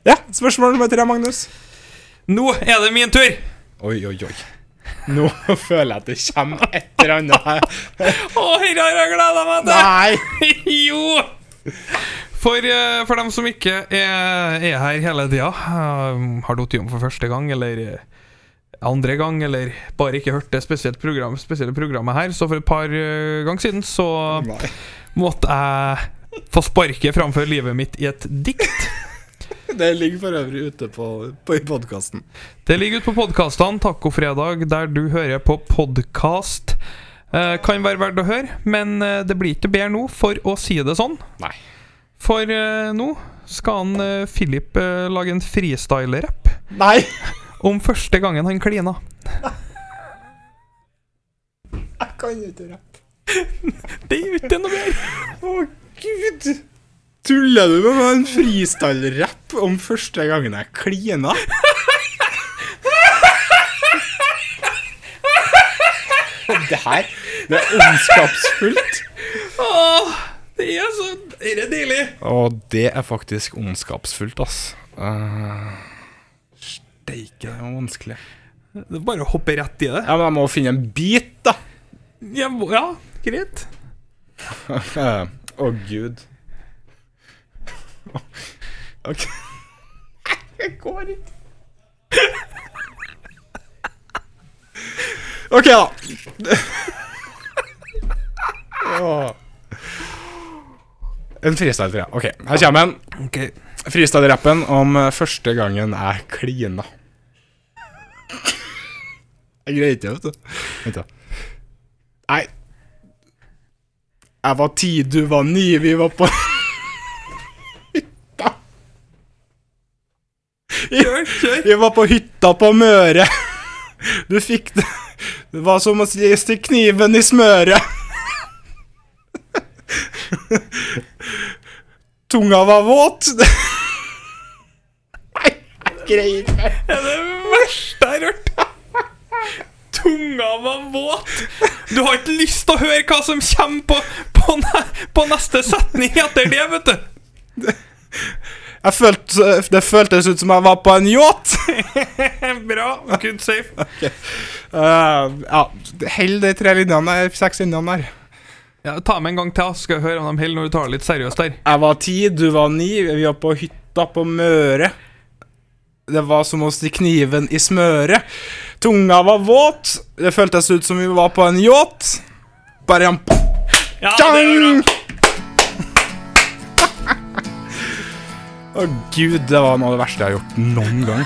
Speaker 3: Ja, Spørsmål nummer tre, Magnus.
Speaker 4: Nå er det min tur!
Speaker 3: Oi, oi, oi. Nå føler jeg at det kommer et eller annet her.
Speaker 4: Å, herre, har jeg gleda meg
Speaker 3: Nei!
Speaker 4: til! jo! For, eh, for dem som ikke er, er her hele tida, eh, har datt om for første gang eller eh, andre gang, eller bare ikke hørt det spesielt program, spesielle programmet her, så for et par eh, ganger siden så
Speaker 3: Nei.
Speaker 4: måtte jeg få sparket framfor livet mitt i et dikt.
Speaker 3: Det ligger for øvrig ute på, på i podkasten.
Speaker 4: Det ligger ute på podkastene Tacofredag, der du hører på podkast. Eh, kan være verdt å høre, men eh, det blir ikke bedre nå, for å si det sånn.
Speaker 3: Nei.
Speaker 4: For eh, nå skal han eh, Philip eh, lage en freestyle-rapp
Speaker 3: Nei!
Speaker 4: om første gangen han klina.
Speaker 3: Jeg kan ikke rappe.
Speaker 4: Det er jo ikke noe mer!
Speaker 3: Å, gud! Tuller du med meg en freestyle-rapp om første gangen jeg klina? Det her Det er ondskapsfullt.
Speaker 4: Åh, det er så Er det deilig?
Speaker 3: Og det er faktisk ondskapsfullt, ass. Uh, Steike, det var vanskelig.
Speaker 4: Det er bare å hoppe rett i det.
Speaker 3: Ja, men jeg må finne en bit, da.
Speaker 4: Ja, må- ja greit.
Speaker 3: Eh, Å, gud. OK. Det går ikke. OK, da. Åh. En freestyler, ja. Ok, her kommer den.
Speaker 4: Ok.
Speaker 3: Freestyle-rappen om eh, første gangen jeg klina. Jeg greier ikke, vet du. Vent, da. Nei. Jeg var ti, du var ni, vi var på hytta.
Speaker 4: Kjør, kjør.
Speaker 3: Vi var på hytta på Møre. Du fikk det Det var som å si- stikke kniven i smøret. Tunga var våt. Nei, jeg greier ikke.
Speaker 4: Det er det verste jeg har hørt. Tunga var våt. Du har ikke lyst til å høre hva som kommer på, på, ne på neste setning etter det, vet du.
Speaker 3: Jeg følte, eh, det føltes ut som jeg var på en yacht.
Speaker 4: Bra. Good safe.
Speaker 3: Eh, ja, Hold de tre linjene, der, seks linjene der.
Speaker 4: Ja, ta med en gang til, så skal jeg høre om de holder når du tar det litt seriøst der.
Speaker 3: Jeg var ti, du var ni, vi var på hytta på Møre. Det var som å stikke kniven i smøret. Tunga var våt, det føltes ut som vi var på en yacht. Bare en
Speaker 4: Ja, det var
Speaker 3: pang!
Speaker 4: bra.
Speaker 3: Å gud, det var noe av det verste jeg har gjort noen gang.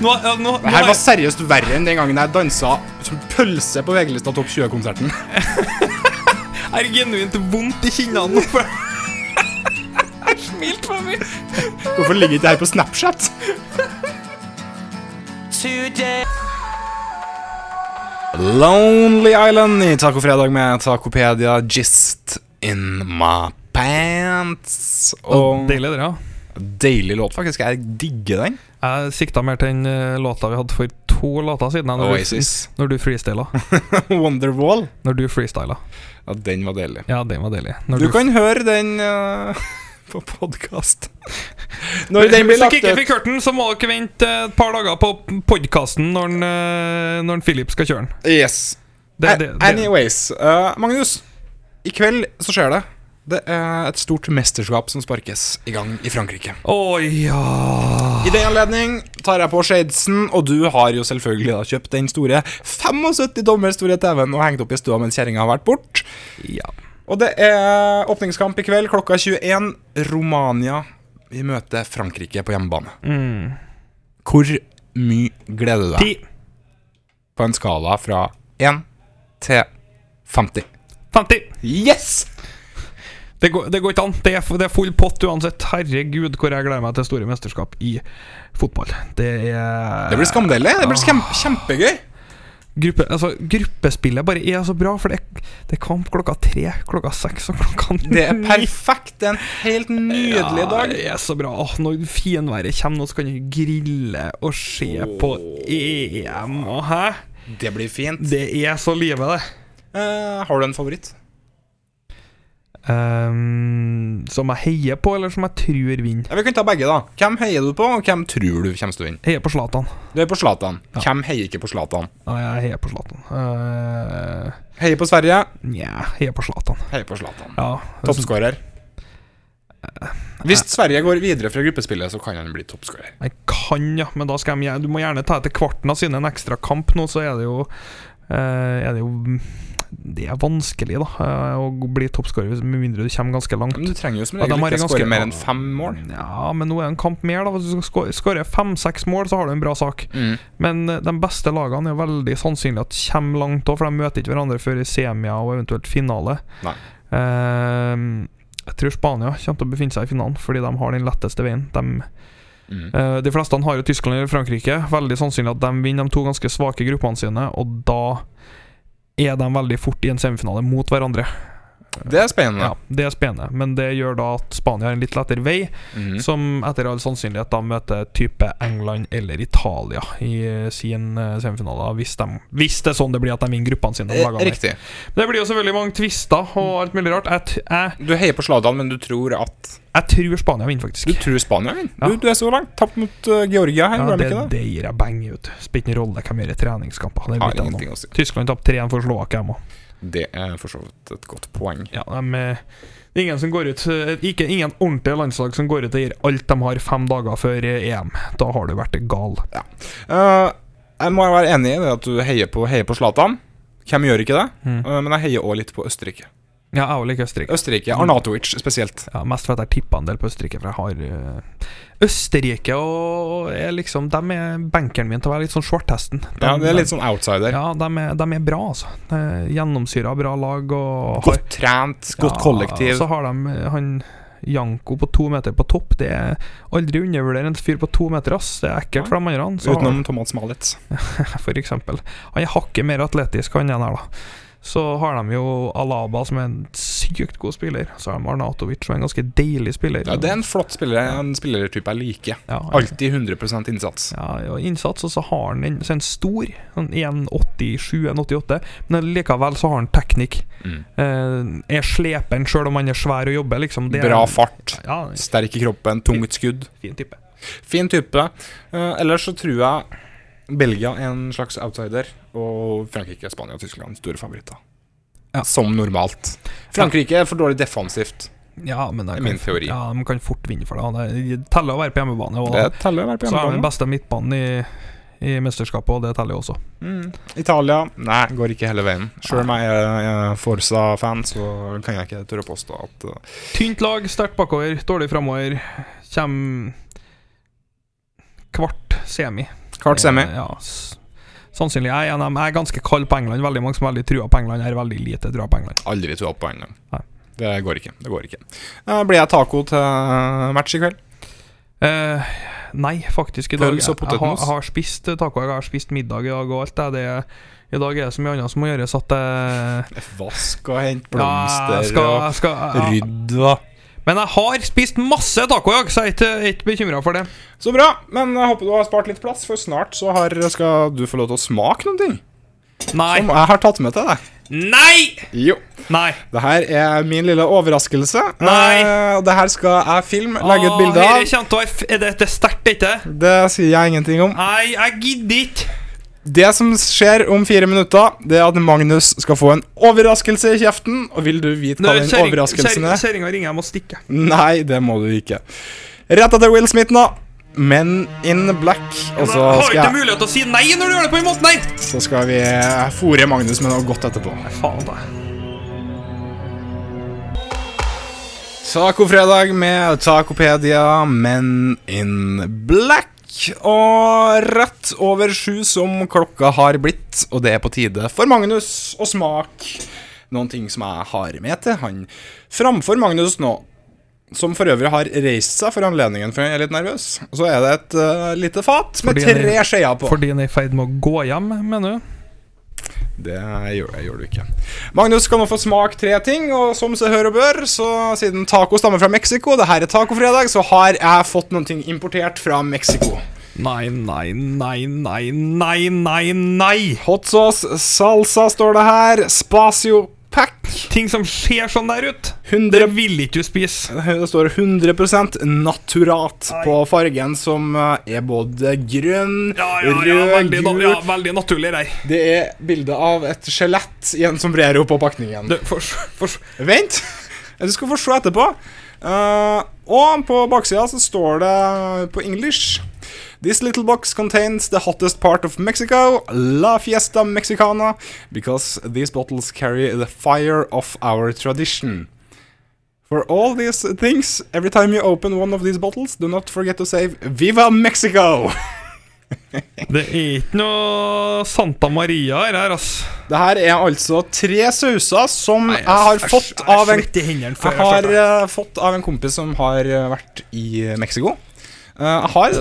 Speaker 4: Nå, ja, nå, nå,
Speaker 3: Det her var seriøst verre enn den gangen jeg dansa som pølse på VG-lista Topp 20-konserten.
Speaker 4: er det genuint vondt i kinnene nå, for jeg har smilt for mye.
Speaker 3: Hvorfor ligger ikke det her på Snapchat? Lonely Island i Tacofredag med Tacopedia Gist in my pants. Og
Speaker 4: Deilig, det, ja.
Speaker 3: deilig låt, faktisk. Jeg digger den.
Speaker 4: Jeg sikta mer til den eh, låta vi hadde for to låter siden. jeg, Når,
Speaker 3: Oasis.
Speaker 4: du, når du freestyla.
Speaker 3: Wonderwall.
Speaker 4: Når du freestyla.
Speaker 3: Ja, den var deilig.
Speaker 4: Ja, den var deilig. Når
Speaker 3: Du kan høre den eh, på podkast. Når den blir
Speaker 4: Hvis
Speaker 3: lagt
Speaker 4: dere ikke
Speaker 3: ut.
Speaker 4: fikk hørt den, så må dere vente eh, et par dager på podkasten når, den, eh, når den Philip skal kjøre den.
Speaker 3: Yes.
Speaker 4: Det- det- det-
Speaker 3: Anyways, eh, Magnus. I kveld så skjer det. Det er et stort mesterskap som sparkes i gang i Frankrike.
Speaker 4: Å ja.
Speaker 3: I den anledning tar jeg på shadesen, og du har jo selvfølgelig da kjøpt den store 75 dommer store TV-en og hengt opp i stua mens kjerringa har vært bort.
Speaker 4: ja.
Speaker 3: Og det er åpningskamp i kveld klokka 21. Romania vi møter Frankrike på hjemmebane. Hvor mye gleder du deg
Speaker 4: Mm. Ti.
Speaker 3: på en skala fra 1 til 50?
Speaker 4: 50.
Speaker 3: Yes!
Speaker 4: Det går, det går ikke an. Det er, f- det er full pott uansett. Herregud, hvor jeg gleder meg til store mesterskap i fotball. Det er
Speaker 3: Det blir skamdeilig. Det blir skem kjempegøy.
Speaker 4: gruppe, altså, Gruppespillet bare er så bra, for det er, det er kamp klokka tre, klokka seks og klokka ni.
Speaker 3: Det er perfekt. Det er en helt nydelig
Speaker 4: Ja,
Speaker 3: dag.
Speaker 4: det er så bra. Åh, når finværet kommer nå, så kan du grille og se på EM og hæ?
Speaker 3: Det blir fint.
Speaker 4: Det er så livet, det.
Speaker 3: Eh, har du en favoritt?
Speaker 4: Ehm, som jeg heier på, eller som jeg tror vinner.
Speaker 3: Ja, vi kan ta begge, da. Hvem heier du på, og hvem tror du kommer til å vinne?
Speaker 4: Heier på Zlatan.
Speaker 3: Du er på Zlatan. Hvem heier ikke på Zlatan?
Speaker 4: Nei, jeg heier på Zlatan. Eh,
Speaker 3: Heier på Sverige.
Speaker 4: Nja, heier på Zlatan.
Speaker 3: Heier på Zlatan.
Speaker 4: Ja.
Speaker 3: Toppskårer. Hvis Sverige går videre fra gruppespillet, så kan han bli toppskårer.
Speaker 4: Jeg kan, ja, men da skal jeg, du må gjerne ta etter kvarten av siden en ekstra kamp nå, så er det jo eh, Er det jo Det er vanskelig, da, eh, å bli toppskårer hvis- med mindre du kommer ganske langt.
Speaker 3: Men du trenger jo som
Speaker 4: Ja, de
Speaker 3: regel
Speaker 4: har
Speaker 3: ikke
Speaker 4: ganske-
Speaker 3: skåre mer enn fem mål.
Speaker 4: Ja, men nå er det en kamp mer, da. Hvis du skal skå- skåre fem-seks mål, så har du en bra sak. Men eh, de beste lagene er veldig sannsynlig at kommer langt òg, for de møter ikke hverandre før i semia og eventuelt finale.
Speaker 3: Nei.
Speaker 4: Eh, jeg tror Spania kommer til å befinne seg i finalen, fordi de har den letteste veien. De
Speaker 3: Mm.
Speaker 4: Eh, De fleste har jo Tyskland eller Frankrike. Veldig sannsynlig at de vinner de to ganske svake gruppene sine, og da er de veldig fort i en semifinale mot hverandre.
Speaker 3: Det er spennende.
Speaker 4: Ja, Det er spennende, men det gjør da at Spania har en litt lettere vei,
Speaker 3: Mhm.
Speaker 4: som etter all sannsynlighet da møter type England eller Italia i sin eh, semifinale, da, hvis, de, hvis det er sånn det blir at de vinner gruppene sine. de
Speaker 3: Eh,
Speaker 4: lagene der.
Speaker 3: Riktig.
Speaker 4: Det blir jo selvfølgelig mange twister og alt mulig rart. Jeg, t jeg,
Speaker 3: Du heier på Zlatan, men du tror at
Speaker 4: jeg tror Spania vinner,
Speaker 3: Du
Speaker 4: faktisk.
Speaker 3: tror Spania vinner?
Speaker 4: Ja.
Speaker 3: Du, du er så langt. Tapt mot eh, Georgia her,
Speaker 4: Ja,
Speaker 3: var
Speaker 4: det,
Speaker 3: det ikke det?
Speaker 4: det gir jeg beng ut. Spiller ingen rolle hvem som gjør i treningskamper. Det
Speaker 3: Har
Speaker 4: vet jeg nå.
Speaker 3: ingenting å si.
Speaker 4: Tyskland tapte 3-1 for Slovakia. dem også.
Speaker 3: Det er for så vidt et godt poeng.
Speaker 4: Ja, de, eh, det er ingen som går ut eh, ikke, Ingen ordentlige landslag som går ut og gir alt de har fem dager før eh, EM. Da har du vært gal.
Speaker 3: Eh, jeg må være enig i det at du heier på, heier på Zlatan. Hvem gjør ikke det?
Speaker 4: Mm.
Speaker 3: Eh, men jeg heier også litt på Østerrike.
Speaker 4: Ja, jeg òg liker Østerrike.
Speaker 3: Østerrike. Arnatovic spesielt.
Speaker 4: Ja, mest fordi jeg tippa en del på Østerrike, for jeg har eh, Østerrike og er liksom De er benkeren min til å være litt sånn svarthesten. De,
Speaker 3: Ja, det er litt sånn outsider.
Speaker 4: Ja, de er, de er bra, altså. Eh, Gjennomsyra, bra lag og
Speaker 3: Godt trent, sånn, godt
Speaker 4: Ja,
Speaker 3: kollektiv.
Speaker 4: Så har de eh, han Janko på to meter på topp. Det er Aldri undervurder en fyr på to meter, ass. Det er ekkelt for de andre. Så har-
Speaker 3: Utenom Thomas Malitz.
Speaker 4: for eksempel. Han er hakket mer atletisk, han ene her, da. Så har de jo Alaba, som er en sykt god spiller. Så har de Arnatovic, som er en ganske deilig spiller.
Speaker 3: Ja, det er en flott spiller, en spillertype jeg liker.
Speaker 4: Ja,
Speaker 3: Alltid 100 innsats.
Speaker 4: ja, og innsats, og så har han en, så er han stor. Sånn 1,87, 1,88. Men likevel så har han teknikk.
Speaker 3: Mm.
Speaker 4: Eh, er slepen sjøl om han er svær og jobber, liksom. Det er-
Speaker 3: Bra fart,
Speaker 4: Ja, han er en
Speaker 3: sterk i kroppen, tungt skudd.
Speaker 4: fin type.
Speaker 3: Fin type. Eh, ellers så tror jeg Belgia er en slags outsider, og Frankrike, Spania og Tyskland store favoritter.
Speaker 4: Ja.
Speaker 3: Som normalt. Frankrike er for dårlig defensivt.
Speaker 4: Ja, men de
Speaker 3: Det er
Speaker 4: kan-
Speaker 3: min teori.
Speaker 4: Ja, de kan fort vinne for det. Han er- Det teller å være på hjemmebane. Og
Speaker 3: Det teller å være på
Speaker 4: så er de den
Speaker 3: hjemmebane.
Speaker 4: beste midtbanen i, i mesterskapet, og det teller jo også.
Speaker 3: Mm. Italia nei, går ikke hele veien. Sjøl om jeg er eh, Forza-fan, så kan jeg ikke tørre å påstå at eh,
Speaker 4: Tynt lag, sterkt bakover, dårlig framover. Kjem kvart semi.
Speaker 3: Kvart semi.
Speaker 4: Eh, Ja, s- sannsynlig. Jeg er, en av dem. jeg er ganske kald på England. Veldig mange som er veldig trua på England. Jeg er veldig lite trua på England.
Speaker 3: Aldri to opp på en gang.
Speaker 4: Nei.
Speaker 3: Det går ikke. det går ikke Eh, Blir jeg taco til match i kveld?
Speaker 4: Eh, nei, faktisk. I dag
Speaker 3: Pølse og
Speaker 4: jeg, jeg, har,
Speaker 3: potetmos.
Speaker 4: jeg har spist taco. Jeg har spist middag i dag og alt. det. Det er, I dag er det så mye annet som må gjøres at eh,
Speaker 3: Vask og hent
Speaker 4: ja,
Speaker 3: blomster
Speaker 4: jeg skal, jeg skal,
Speaker 3: og
Speaker 4: jeg,
Speaker 3: rydd og
Speaker 4: Men jeg har spist masse taco i dag, så jeg er ikke, jeg er ikke bekymra for det.
Speaker 3: Så bra, men jeg håper du har spart litt plass, for snart så har, skal du få lov til å smake noen ting.
Speaker 4: Nei!
Speaker 3: Som jeg har tatt med til deg.
Speaker 4: Nei!
Speaker 3: Jo.
Speaker 4: Nei!
Speaker 3: Det her er min lille overraskelse.
Speaker 4: Nei.
Speaker 3: Eh, og det her skal jeg filme, legge ut
Speaker 4: Åh,
Speaker 3: bilde
Speaker 4: herre
Speaker 3: av.
Speaker 4: kjente å være f- Er dette sterkt, ikke?
Speaker 3: Det sier jeg ingenting om.
Speaker 4: Nei, jeg gidder ikke.
Speaker 3: Det som skjer om fire minutter, det er at Magnus skal få en overraskelse i kjeften. Og vil du vite hva den overraskelsen er?
Speaker 4: Kjerringa ringer, jeg må stikke.
Speaker 3: Nei, det må du ikke. Rett etter Will Smith nå. Men in black. Og så
Speaker 4: jeg har
Speaker 3: skal,
Speaker 4: ikke
Speaker 3: jeg,
Speaker 4: mulighet til å si nei når du gjør det på den måten her!
Speaker 3: så skal vi fòre Magnus med noe godt etterpå.
Speaker 4: Faen, da.
Speaker 3: Tacofredag med Tacopedia, men in black. Og rett over sju som klokka har blitt, og det er på tide for Magnus å smake noen ting som jeg har med til han. Framfor Magnus nå, som for øvrig har reist seg for anledningen, for jeg er litt nervøs, så er det et eh, lite fat med
Speaker 4: Fordi han er-
Speaker 3: tre skjeer på.
Speaker 4: Fordi han er i ferd med å gå hjem, mener du?
Speaker 3: Det gjør, gjør du ikke. Magnus skal nå få smake tre ting, og som seg hør og bør, så siden taco stammer fra Mexico, det her er tacofredag, så har jeg fått noen ting importert fra Mexico.
Speaker 4: Nei, nei, nei, nei, nei, nei, nei!
Speaker 3: Hot sauce, salsa står det her, spacio pack,
Speaker 4: Ting som ser sånn der ut,
Speaker 3: 100
Speaker 4: det vil ikke du spise.
Speaker 3: Det står 100 naturat på fargen, som eh, er både grønn,
Speaker 4: Ja, ja, ja,
Speaker 3: rød,
Speaker 4: veldig, na-
Speaker 3: gul
Speaker 4: ja, veldig naturlig, det her.
Speaker 3: Det er bilde av et skjelett i en sombrero på pakningen.
Speaker 4: Du, for, for,
Speaker 3: Vent! Du skal få se etterpå. Eh, og på baksida så står det på engelsk This little box contains the hottest part of Mexico, la fiesta mexicana, because these bottles carry the fire of our tradition. For all these things, every time you open one of these bottles, do not forget to save Viva Mexico!
Speaker 4: det er ikke noe Santa Maria her, her ass.
Speaker 3: Det her er altså tre sauser som
Speaker 4: Nei,
Speaker 3: jeg har fått av en
Speaker 4: svett i hendene før
Speaker 3: Jeg
Speaker 4: jeg
Speaker 3: har
Speaker 4: starter.
Speaker 3: eh, fått av en kompis som har eh, vært i eh, Mexico. Eh, Jeg har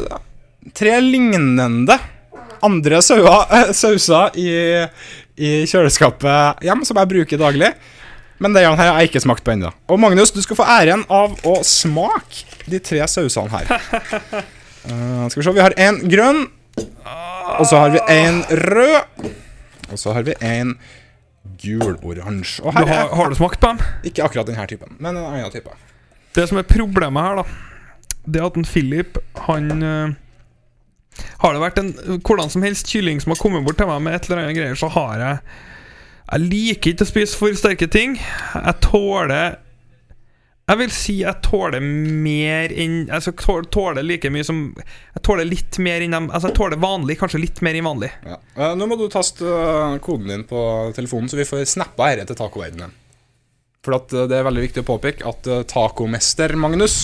Speaker 3: tre lignende andre sauer, eh, sauser i, i kjøleskapet hjem som jeg bruker daglig. Men det her har jeg ikke smakt på ennå. Og Magnus, du skal få æren av å smake de tre sausene her. Eh, skal vi se, vi har én grønn, og så har vi én rød, og så har vi én gul-oransje. Og
Speaker 4: Du
Speaker 3: her
Speaker 4: har,
Speaker 3: er
Speaker 4: har du smakt på dem?
Speaker 3: ikke akkurat denne typen, men en annen type.
Speaker 4: Det som er problemet her, da, det er at en Philip, han eh, Har det vært en hvordan som helst kylling som har kommet bort til meg med et eller annet greier, så har jeg Jeg liker ikke å spise for sterke ting. Jeg tåler jeg vil si jeg tåler mer enn Altså tål- tåler like mye som Jeg tåler litt mer enn dem Altså jeg tåler vanlig, kanskje litt mer enn vanlig.
Speaker 3: Ja. Eh, nå må du taste eh, koden din på telefonen, så vi får snappa dette til tacoverdenen. For at eh, det er veldig viktig å påpeke at eh, tacomester Magnus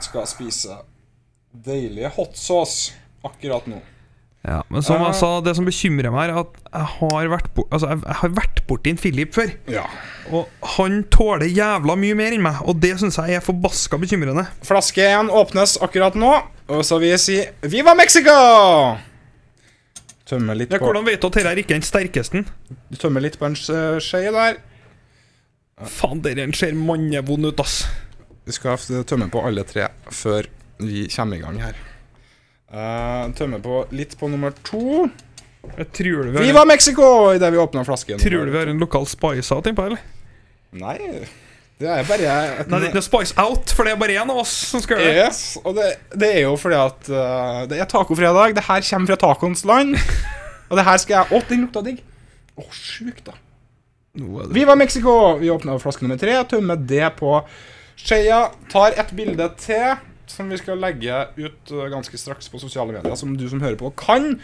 Speaker 3: skal spise deilige hot sauce akkurat nå.
Speaker 4: Ja, men som
Speaker 3: Eh.
Speaker 4: jeg sa, det som bekymrer meg, er at jeg har vært, bo- altså, jeg, jeg har vært borti en Philip før.
Speaker 3: Ja.
Speaker 4: Og han tåler jævla mye mer enn meg, og det syns jeg er forbaska bekymrende.
Speaker 3: Flaske 1 åpnes akkurat nå, og så vil jeg si Viva Mexico! Tømmer litt
Speaker 4: Ja,
Speaker 3: på,
Speaker 4: hvordan vet du at dette er ikke den sterkeste?
Speaker 3: tømmer litt på en eh, skje der.
Speaker 4: Faen, dette ser mannevond ut, ass.
Speaker 3: Vi skal f- tømme på alle tre før vi kommer i gang her. Eh, tømme på litt på nummer to.
Speaker 4: Jeg tror du vi
Speaker 3: Viva
Speaker 4: har,
Speaker 3: Mexico! Idet vi åpna flasken.
Speaker 4: tror du vi har en lokal spice out innpå, eller?
Speaker 3: Nei, det er bare et
Speaker 4: Nei, det er ikke noe spice out, for det er bare én av oss som skal gjøre det.
Speaker 3: Yes, og det, det er jo fordi at eh, det er tacofredag. Det her kommer fra tacoens land. Og det her skal jeg Å, den lukta digg! Å, sjukt, da.
Speaker 4: Nå er det-
Speaker 3: Viva Mexico! Vi åpna flaske nummer tre, tømmer det på skjea. Tar et bilde til som vi skal legge ut eh, ganske straks på sosiale medier, som du som hører på, kan.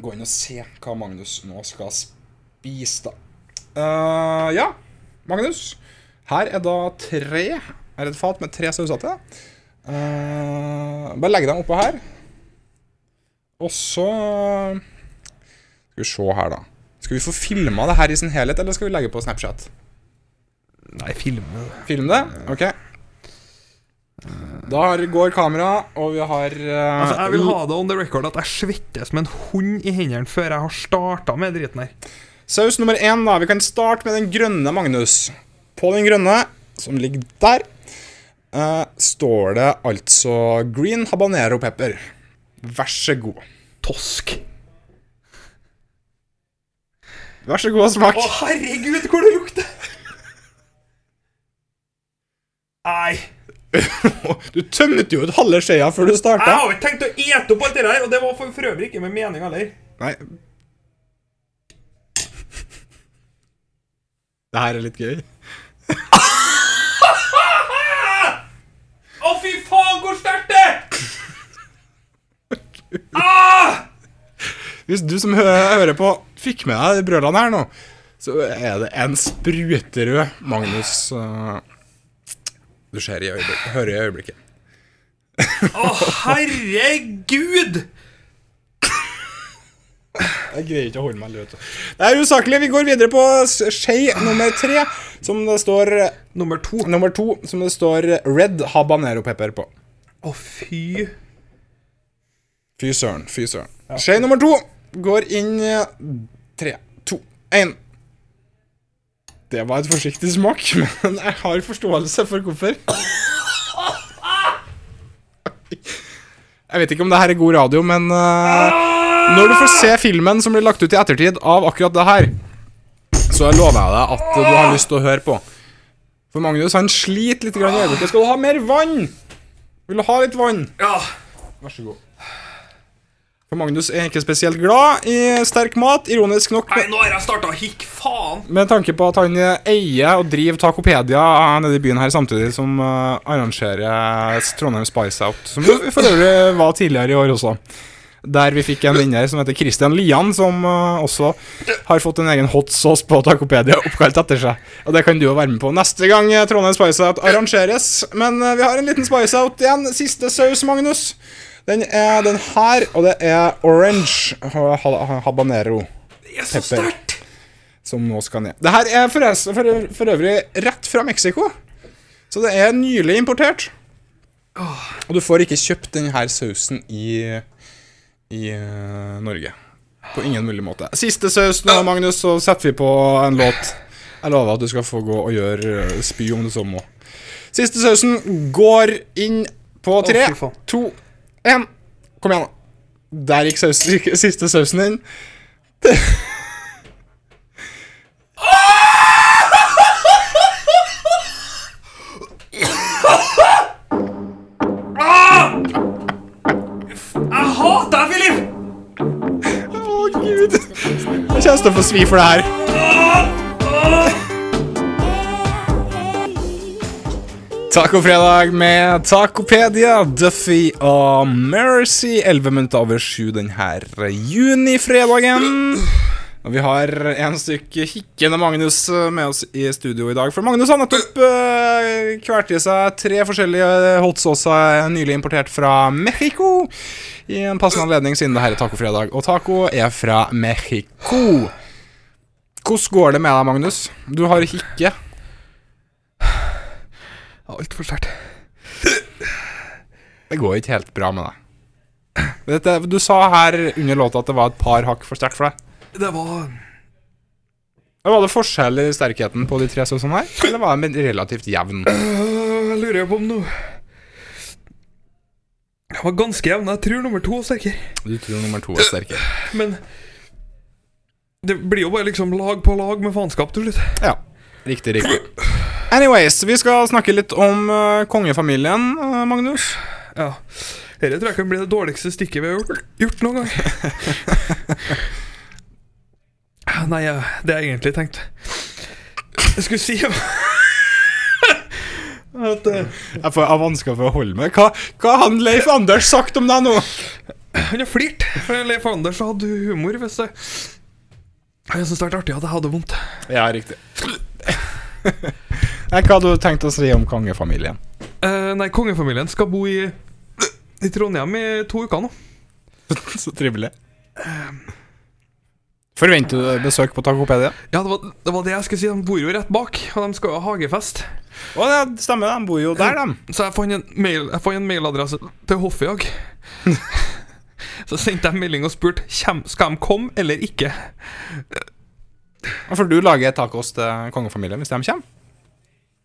Speaker 3: Gå inn og se hva Magnus nå skal spise, da. Eh, ja, Magnus. Her er da tre Her er et fat med tre sauser til. Eh, bare legg dem oppå her. Og så Skal vi se her, da. Skal vi få filma det her i sin helhet, eller skal vi legge på Snapchat?
Speaker 4: Nei, filme det.
Speaker 3: Film det?
Speaker 4: Eh.
Speaker 3: Ok. Da har- går kameraet, og vi har eh,
Speaker 4: Altså, jeg vil ha det on the record at jeg svetter som en hund i hendene før jeg har starta med driten her.
Speaker 3: Saus nummer én, da. Vi kan starte med den grønne, Magnus. På den grønne, som ligger der, eh, står det altså green habanero pepper. Vær så god.
Speaker 4: Tosk.
Speaker 3: Vær så god og smak.
Speaker 4: Å, herregud, hvor det lukter! Nei.
Speaker 3: Du tømte jo ut halve skjea før du
Speaker 4: Jeg
Speaker 3: starta.
Speaker 4: har jo ikke tenkt å ete opp alt det der, og det var for, for øvrig ikke med mening heller.
Speaker 3: Nei. Det her er litt gøy.
Speaker 4: Å, fy faen, hvor sterkt det er! Ah!
Speaker 3: Hvis du som hø hører på, fikk med deg de brølene her nå, så er det en spruterød Magnus eh, du ser i øyeblikket, hører i øyeblikket.
Speaker 4: Å, herregud!
Speaker 3: Jeg greier ikke å holde meg løs. Det er usaklig. Vi går videre på s- skje nummer tre, som det står
Speaker 4: Nummer to. Å,
Speaker 3: Nummer to, som det står red habanero pepper på.
Speaker 4: fy
Speaker 3: Fy søren, fy søren. Skje nummer to går inn eh, Tre, to, én. Det var et forsiktig smak, men jeg har forståelse for hvorfor. Jeg vet ikke om det her er god radio, men eh, når du får se filmen som blir lagt ut i ettertid av akkurat det her, så lover jeg deg at du har lyst til å høre på. For Magnus han sliter litt grann i øyeblikket. Skal du ha mer vann? Vil du ha litt vann?
Speaker 4: Ja.
Speaker 3: Vær så god. For Magnus er ikke spesielt glad i sterk mat, ironisk nok,
Speaker 4: Nei,
Speaker 3: med,
Speaker 4: nå har jeg starta å hikke, faen.
Speaker 3: med tanke på at han eh, eier og driver Tacopedia eh, nede i byen her, samtidig som eh, arrangerer Trondheim Spice Out, som jo for øvrig var tidligere i år også. Der vi fikk en vinner som heter Christian Lian, som eh, også har fått en egen hot sauce på Tacopedia oppkalt etter seg. Og det kan du jo være med på neste gang eh, Trondheim Spice Out arrangeres. Men eh, vi har en liten Spice Out igjen. Siste saus, Magnus. Den er den her, og det er orange ha- ha- habanero
Speaker 4: Det er så
Speaker 3: Pepper.
Speaker 4: sterkt.
Speaker 3: som nå skal ned. Det her er forresten for, for øvrig rett fra Mexico, så det er nylig importert. Og du får ikke kjøpt denne sausen i, i eh, Norge. På ingen mulig måte. Siste saus nå, Magnus, så setter vi på en låt. Jeg lover at du skal få gå og gjøre eh, spy om du så må. Siste sausen går inn på tre,
Speaker 4: fy faen.
Speaker 3: to, én. Kom igjen, da. Der gikk saus, siste sausen inn.
Speaker 4: Jeg hater deg, Filip!
Speaker 3: Å, gud. Jeg kjenner til å få svi for det her. Tacofredag med Tacopedia, Duffy og Mercy. 11 minutter over sju denne junifredagen. Og vi har en stykke hikkende Magnus eh, med oss i studio i dag. For Magnus har nettopp uh, kvert i seg tre forskjellige hot saucer nylig importert fra Mexico. I en passende anledning siden det her er tacofredag. Og taco er fra Mexico. Hvordan går det med deg, Magnus? Du har hikke.
Speaker 4: Altfor sterkt.
Speaker 3: Det går ikke helt bra med deg. Dette, du sa her under låta at det var et par hakk for sterkt for deg.
Speaker 4: Det var
Speaker 3: Var det forskjell i sterkheten på de tre sausene her, eller var den relativt jevn?
Speaker 4: Øh, Jeg lurer på om noe Jeg var ganske jevn. Jeg tror nummer to er sterkere.
Speaker 3: Du tror nummer to er sterkere.
Speaker 4: Men det blir jo bare liksom lag på lag med faenskap til slutt.
Speaker 3: Ja, riktig, riktig. Anyways, vi skal snakke litt om eh, kongefamilien, eh, Magnus.
Speaker 4: Ja. Dette tror jeg kan bli det dårligste stikket vi har gjort, gjort noen gang. Nei, ja, det jeg egentlig tenkte Jeg skulle si At eh,
Speaker 3: Jeg får jeg vansker for å holde meg. Hva, hva har han Leif Anders sagt om deg nå?
Speaker 4: Han har flirt. For Leif Anders hadde humor. Hvis det Jeg syns det har vært artig at jeg hadde vondt.
Speaker 3: Ja, riktig. Nei, hva hadde du tenkt å si om kongefamilien?
Speaker 4: Eh, nei, kongefamilien skal bo i, i Trondheim i to uker nå.
Speaker 3: Så trivelig. Ehm. Forventer du besøk på Takopedia?
Speaker 4: Ja, det var, det var det jeg skulle si. De bor jo rett bak, og de skal jo ha hagefest.
Speaker 3: Å, det stemmer, de bor jo der, de.
Speaker 4: Så jeg fant en, mail, jeg fant en mailadresse til hoffet i dag. Så sendte jeg melding og spurte «Kjem- skal de komme eller ikke.
Speaker 3: Ja, For du lager tacos til eh, kongefamilien hvis de kommer?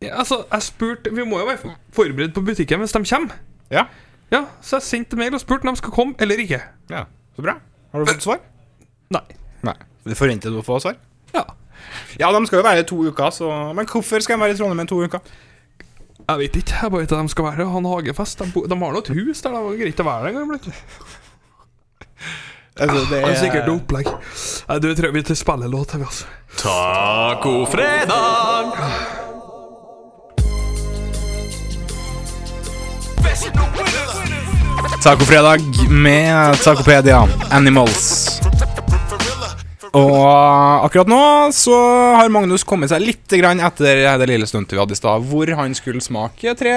Speaker 4: Ja, altså, jeg spurte Vi må jo være for- forberedt på butikken hvis de kommer.
Speaker 3: Ja.
Speaker 4: Ja, Så jeg sendte mail og spurte om de skulle komme eller ikke.
Speaker 3: ja. Så bra. Har du fått svar?
Speaker 4: Nei.
Speaker 3: Nei. Forventer du å få svar?
Speaker 4: Ja.
Speaker 3: Ja, de skal jo være i to uker, så Men hvorfor skal de være i Trondheim i to uker?
Speaker 4: Jeg vet ikke. Jeg bare vet at de skal være her og ha en hagefest. De, bo, de har nå et hus der. Det var greit å være der en gang iblant.
Speaker 3: Altså, det
Speaker 4: Det er sikkert noe opplegg. Nei, du, jeg tror vi spiller låt. vi, altså.
Speaker 2: Tacofredag!
Speaker 3: Tacofredag med Tacopedia Animals. Og eh, akkurat nå så har Magnus kommet seg litt grann etter det lille stuntet vi hadde i stad, hvor han skulle smake tre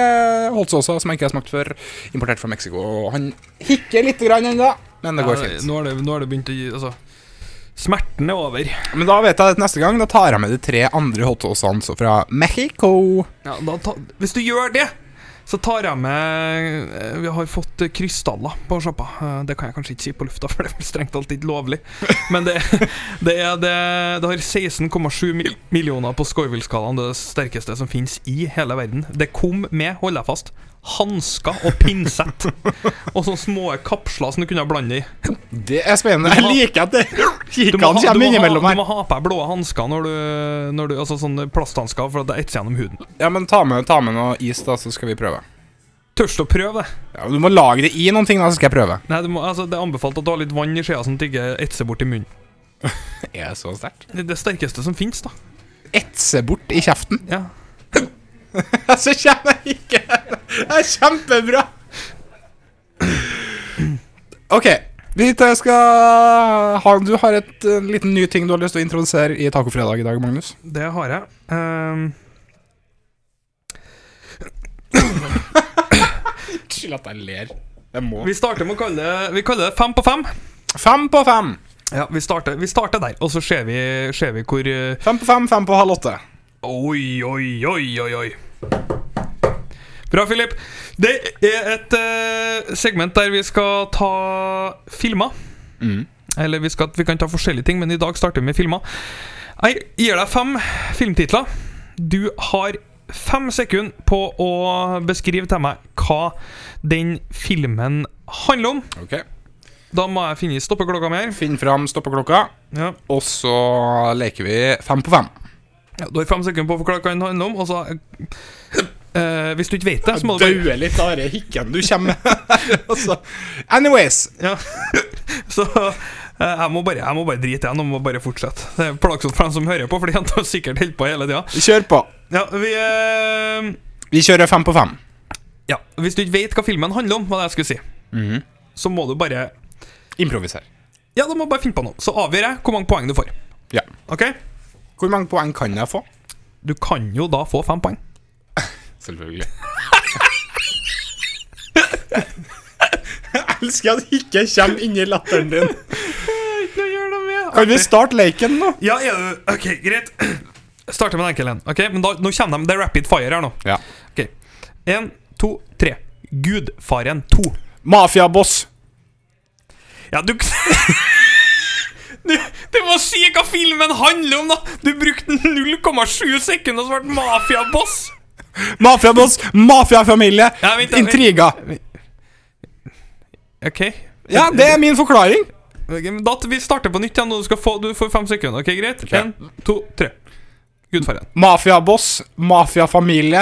Speaker 3: holtsåser som jeg ikke har smakt før, importert fra Mexico. Og han hikker litt grann ennå, men det går
Speaker 4: Ja,
Speaker 3: fint.
Speaker 4: Nå har det, nå har det begynt å gi Altså, smerten er over.
Speaker 3: Men da vet jeg at neste gang da tar jeg med de tre andre hotsåsene så fra Mexico.
Speaker 4: Ja, da ta, hvis du gjør det, så tar jeg med eh, Vi har fått eh, krystaller på sjappa. Eh, Det kan jeg kanskje ikke si på lufta, for det er strengt talt ikke lovlig. Men det, det, er, det, det har 16,7 mil- millioner på Scoiville-skalaen. Det er det sterkeste som finnes i hele verden. Det kom med, hold deg fast, hansker og pinsett. Og sånne små kapsler som du kunne ha blande i.
Speaker 3: Det er spennende.
Speaker 4: Du må
Speaker 3: Jeg
Speaker 4: ha-
Speaker 3: liker at det
Speaker 4: Du må,
Speaker 3: kikkene
Speaker 4: ha, du,
Speaker 3: kommer
Speaker 4: må ha,
Speaker 3: innimellom
Speaker 4: du
Speaker 3: her.
Speaker 4: må ha på deg blå hansker, når du, når du, altså sånne plasthansker, for at det etser gjennom huden.
Speaker 3: Ja, men ta med, ta med noe is, da, så skal vi prøve.
Speaker 4: Tørs du å prøve det?
Speaker 3: Ja, du må lage det i noen ting, da, så skal jeg prøve.
Speaker 4: Nei, du må, altså, Det er anbefalt at du har litt vann i skjea, sånn at det ikke etser bort i munnen.
Speaker 3: Er det så sterkt?
Speaker 4: Det, er det sterkeste som fins, da.
Speaker 3: Etse bort i kjeften.
Speaker 4: Ja.
Speaker 3: så kommer jeg ikke Det er kjempebra! OK. Vi tar- skal ha, Du har et, en liten ny ting du har lyst til å introdusere i Tacofredag i dag, Magnus.
Speaker 4: Det har jeg. Ehm,
Speaker 3: Skyld at jeg ler. Jeg må.
Speaker 4: vi starter med å kalle det Vi kaller det fem på fem.
Speaker 3: Fem på fem.
Speaker 4: Ja, Vi starter, vi starter der, og så ser vi, ser vi hvor eh,
Speaker 3: Fem på fem, fem på halv åtte.
Speaker 4: Oi, oi, oi, oi, oi. Bra, Philip. Det er et eh, segment der vi skal ta filmer. Eller vi, skal, vi kan ta forskjellige ting, men i dag starter vi med filmer. Jeg gir deg fem filmtitler. Du har fem sekunder på å beskrive til meg hva den filmen handler om.
Speaker 3: Ok
Speaker 4: Da må jeg finne stoppeklokka mi her.
Speaker 3: Finn fram stoppeklokka,
Speaker 4: Ja.
Speaker 3: og så leker vi fem på fem.
Speaker 4: Ja, du har fem sekunder på å forklare hva den handler om. Og så, eh, hvis du ikke vet det, så må du bare
Speaker 3: litt av den hikken du kommer med. Anyways,
Speaker 4: Ja. Så eh, jeg må bare, jeg må bare drite igjen og må bare fortsette. Det er plagsomt for dem som hører på, for de har sikkert holdt på hele tida.
Speaker 3: kjør på.
Speaker 4: Ja, vi eh,
Speaker 3: Vi kjører fem på fem.
Speaker 4: Ja, hvis du ikke vet hva filmen handler om, var det jeg skulle si, så må du bare
Speaker 3: Improviser.
Speaker 4: Ja, da må du bare finne på noe. Så avgjør jeg hvor mange poeng du får. OK?
Speaker 3: Hvor mange poeng kan jeg få?
Speaker 4: Du kan jo da få fem poeng.
Speaker 3: Selvfølgelig. jeg elsker at jeg ikke kommer inni latteren din.
Speaker 4: Hva gjør de med?
Speaker 3: Kan vi starte leken nå?
Speaker 4: Ja, ja, ok, greit Starter med en enkel en Ok, men da, nå kjenner de Det er rapid fire her nå
Speaker 3: Ja.
Speaker 4: Ok En, to, tre Gudfaren 2
Speaker 3: Mafiaboss.
Speaker 4: Ja, du Du, du må si hva filmen handler om da Du brukte 0,7 sekunder og svart mafiaboss
Speaker 3: Mafiaboss, mafiafamilie,
Speaker 4: Ja, vent da, vent.
Speaker 3: intriga.
Speaker 4: Ok
Speaker 3: Ja, det er min forklaring.
Speaker 4: Ok, men da vi starter på nytt igjen og Du skal få Du får fem sekunder Ok, greit En, to, tre Gudfaren
Speaker 3: Mafiaboss, mafiafamilie,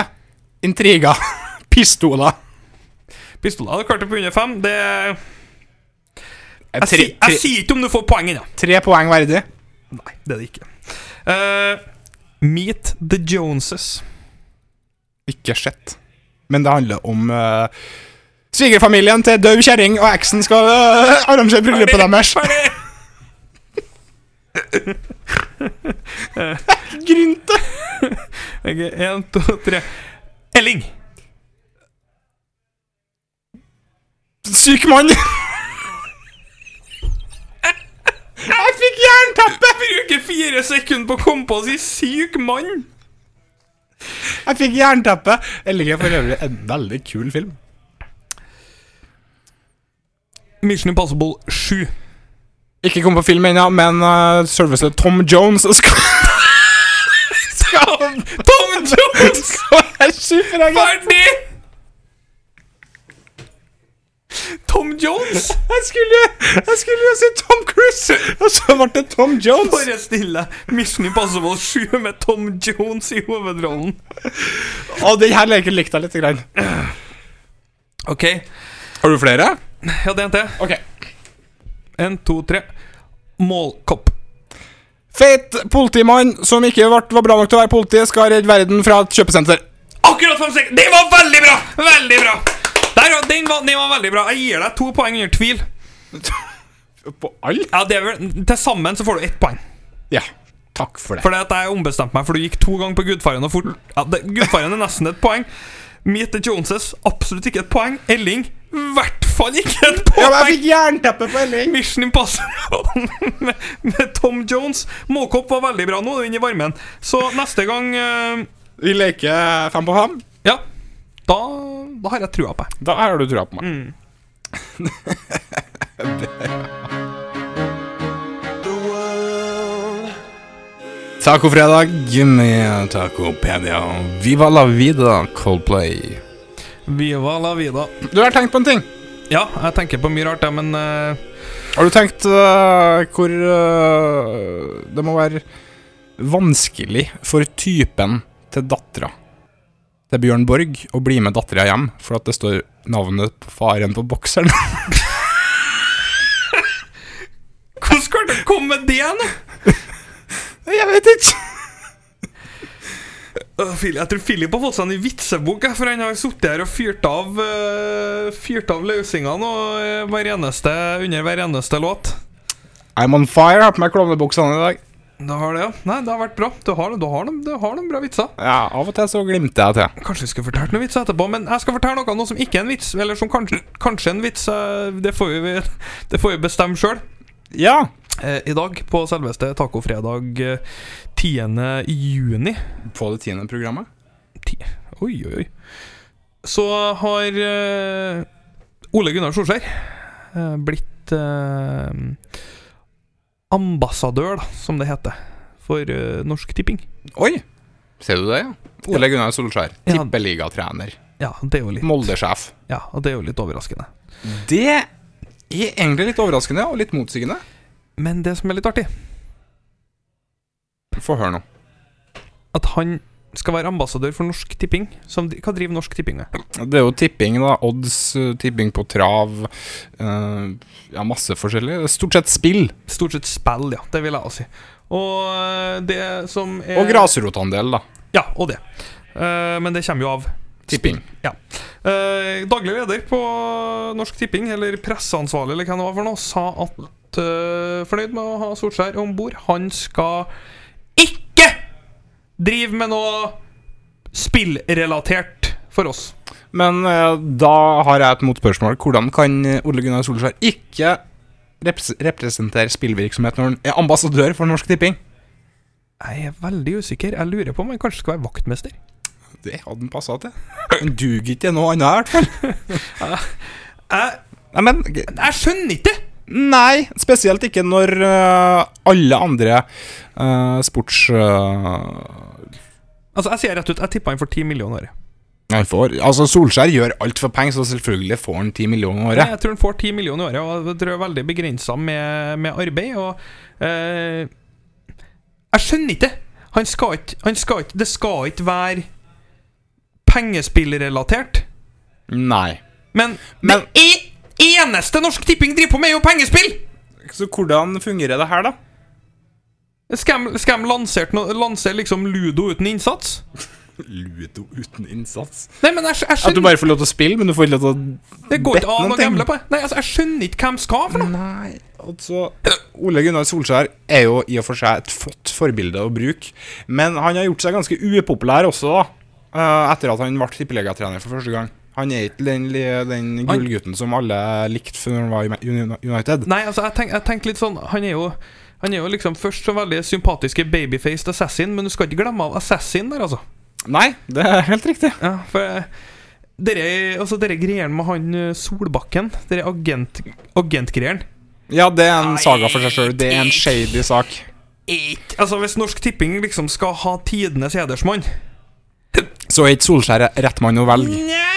Speaker 3: intriga. Pistoler.
Speaker 4: Pistola Du klarte på under fem Det Jeg,
Speaker 3: Tre,
Speaker 4: sier- jeg
Speaker 3: tre,
Speaker 4: sier ikke om du får poengen da
Speaker 3: tre poeng verdig.
Speaker 4: Nei, det er det ikke. Eh, meet the Joneses.
Speaker 3: Ikke sett. Men det handler om eh, svigerfamilien til døv kjerring, og eksen skal eh, arrangere bryllupet deres.
Speaker 4: Ferdig!
Speaker 3: Grynte!
Speaker 4: Ok, en, to, tre. Elling!
Speaker 3: Syk mann! Jeg fikk jernteppe!
Speaker 4: Jeg bruker fire sekunder på å komme på å si 'syk mann'!
Speaker 3: Jeg fikk jernteppe. Elling er for øvrig en veldig kul film.
Speaker 4: Mission Impossible 7.
Speaker 3: Ikke kom på film ennå, men uh, selveste Tom Jones skal
Speaker 4: Skam! Tom Jones!
Speaker 3: skal være superagent!
Speaker 4: Ferdig! Tom Jones!
Speaker 3: Jeg skulle Jeg skulle jo si Tom Cruise, og så ble det Tom Jones.
Speaker 4: Bare stille. Mission Impossible 7 med Tom Jones i hovedrollen.
Speaker 3: Og den her leken likte jeg litt. Grann.
Speaker 4: Ok,
Speaker 3: Har du flere?
Speaker 4: ja, det er en til.
Speaker 3: Ok.
Speaker 4: En, to, tre. Målkopp.
Speaker 3: Feit politimann som ikke ble, var bra nok til å være politi, skal redde verden fra et kjøpesenter.
Speaker 4: Akkurat fem sekunder! Den var veldig bra! Veldig bra! Der, ja, den, var, den var veldig bra. Jeg gir deg to poeng under tvil.
Speaker 3: På all?
Speaker 4: Ja, det er vel, Til sammen så får du ett poeng.
Speaker 3: Ja. Takk for det.
Speaker 4: Fordi at jeg ombestemte meg, for du gikk to ganger på Gudfaren og fort ja, det, Gudfaren er nesten et poeng. Meet the Joneses, absolutt ikke et poeng. Elling, i hvert fall ikke et
Speaker 3: Ja, men
Speaker 4: poeng.
Speaker 3: jeg fikk jernteppe på Elling.
Speaker 4: Mission Impossible med, med Tom Jones. Målkopp var veldig bra. Nå er du inne i varmen. Så neste gang eh,
Speaker 3: Vi leker fem på fem.
Speaker 4: Ja. Da, da har jeg trua på deg.
Speaker 3: Da har du trua på meg. Mm. Tacofredag med Tacopedia. Viva la vida, Coldplay.
Speaker 4: Viva la vida.
Speaker 3: Du har tenkt på en ting.
Speaker 4: Ja, jeg tenker på mye rart, jeg, men eh,
Speaker 3: Har du tenkt øh, hvor øh, det må være vanskelig for typen til dattera til Bjørn Borg å bli med dattera hjem, for at det står navnet på faren på bokseren?
Speaker 4: hvordan skal det komme med det nå?
Speaker 3: Jeg vet ikke!
Speaker 4: Øh, Phil- jeg tror Philip har fått seg en ny vitsebok, jeg, for han har sittet her og fyrt av eh, Fyrt av løsningene og, eh, hver eneste, under hver eneste låt.
Speaker 3: I'm on fire. Har på meg klovnebuksene i dag.
Speaker 4: Du har det, ja. Nei, det har vært bra. Du har, du har, noen, du har noen bra vitser.
Speaker 3: Ja, Av og til så glimter jeg til.
Speaker 4: Kanskje jeg skulle fortalt noen vitser etterpå, men jeg skal fortelle noe, noe som ikke er en vits, eller som kanskje, kanskje er en vits. eh, Det får vi, det får vi bestemme sjøl.
Speaker 3: Ja.
Speaker 4: Eh, I dag, på selveste tacofredag eh, 10. juni,
Speaker 3: På det tiende programmet.
Speaker 4: Oi, oi, oi. Så har eh, Ole Gunnar Solskjær eh, blitt eh, ambassadør, da, som det heter, for eh, Norsk Tipping.
Speaker 3: Oi! Ser du det, ja? Ole Gunnar Solskjær.
Speaker 4: Ja.
Speaker 3: Tippeligatrener.
Speaker 4: Ja, det er jo litt,
Speaker 3: Molde-sjef.
Speaker 4: ja, og det er jo litt overraskende.
Speaker 3: Det er egentlig litt overraskende og litt motsigende.
Speaker 4: Men det som er litt artig,
Speaker 3: Få høre nå.
Speaker 4: at han skal være ambassadør for Norsk Tipping. Som, de- hva driver Norsk Tipping med?
Speaker 3: Det er jo tipping, da. Odds, eh, tipping på trav. eh, ja, masse forskjellig. Det er Stort sett spill.
Speaker 4: Stort sett spill, ja. Det vil jeg også si. Og eh, det som er
Speaker 3: Og grasrotandel, da.
Speaker 4: Ja, og det. Eh, men det kommer jo av
Speaker 3: Tipping.
Speaker 4: Eh, daglig leder på Norsk Tipping, eller presseansvarlig, eller hva det var for noe, sa at godt eh, fornøyd med å ha Solskjær om bord. Han skal ikke drive med noe spillrelatert for oss.
Speaker 3: Men eh, da har jeg et motspørsmål. Hvordan kan eh, Ole Gunnar Solskjær ikke repres representere spillvirksomhet når han er ambassadør for Norsk Tipping?
Speaker 4: Jeg er veldig usikker. Jeg lurer på om han kanskje skal være vaktmester.
Speaker 3: Det hadde han passa til. Han duger ikke til noe annet, i hvert fall.
Speaker 4: Jeg,
Speaker 3: Nei, men g-
Speaker 4: jeg skjønner ikke!
Speaker 3: Nei, spesielt ikke når eh, alle andre eh, sports... eh,
Speaker 4: Altså, Jeg sier rett ut, jeg tippa han for 10 millioner i året.
Speaker 3: han får, altså Solskjær gjør alt for penger, så selvfølgelig får han 10 millioner i
Speaker 4: Nei,
Speaker 3: året.
Speaker 4: Jeg tror han får 10 millioner i året, og jeg tror jeg er veldig begrensa med, med arbeid. Og eh, Jeg skjønner ikke! Han skal ikke, han skal ikke Det skal ikke være pengespillrelatert.
Speaker 3: Nei.
Speaker 4: Men,
Speaker 3: Men-
Speaker 4: det e- eneste Norsk Tipping driver på med, er jo pengespill!
Speaker 3: Så hvordan fungerer det her, da?
Speaker 4: Skal de- skal de lansere no, lansere liksom Ludo uten innsats?
Speaker 3: Ludo uten innsats.
Speaker 4: Nei, men jeg, skj- jeg
Speaker 3: At du
Speaker 4: skjønner
Speaker 3: bare får lov til å spille, men du får ikke lov til å
Speaker 4: Det går
Speaker 3: bet
Speaker 4: ikke an
Speaker 3: noen
Speaker 4: å
Speaker 3: ting.
Speaker 4: gamble på. det. Nei, altså, Jeg skjønner ikke hvem skal for noe.
Speaker 3: Nei, altså Ole Gunnar Solskjær er jo i og for seg et flott forbilde å bruke, men han har gjort seg ganske upopulær også, da. eh, Etter at han ble tippelegatrener for første gang. Han er ikke den, li- den
Speaker 4: Han-
Speaker 3: gullgutten som alle likte før han var i Ma- Uni- United.
Speaker 4: Nei, altså, jeg, tenk, jeg tenkte litt sånn Han er jo han er jo liksom først så veldig sympatiske babyfaced assassin, men du skal ikke glemme av assassin der, altså.
Speaker 3: Nei, det er helt riktig.
Speaker 4: Ja, for eh, dere, altså, dere greiene med han eh, Solbakken, dere agent, agentgreiene
Speaker 3: Ja, det er en saga for seg sjøl. Det er en shady sak.
Speaker 4: Ikke Altså, hvis Norsk Tipping liksom skal ha tidenes hedersmann
Speaker 3: Så er ikke Solskjær rett mann å velge.
Speaker 4: Nja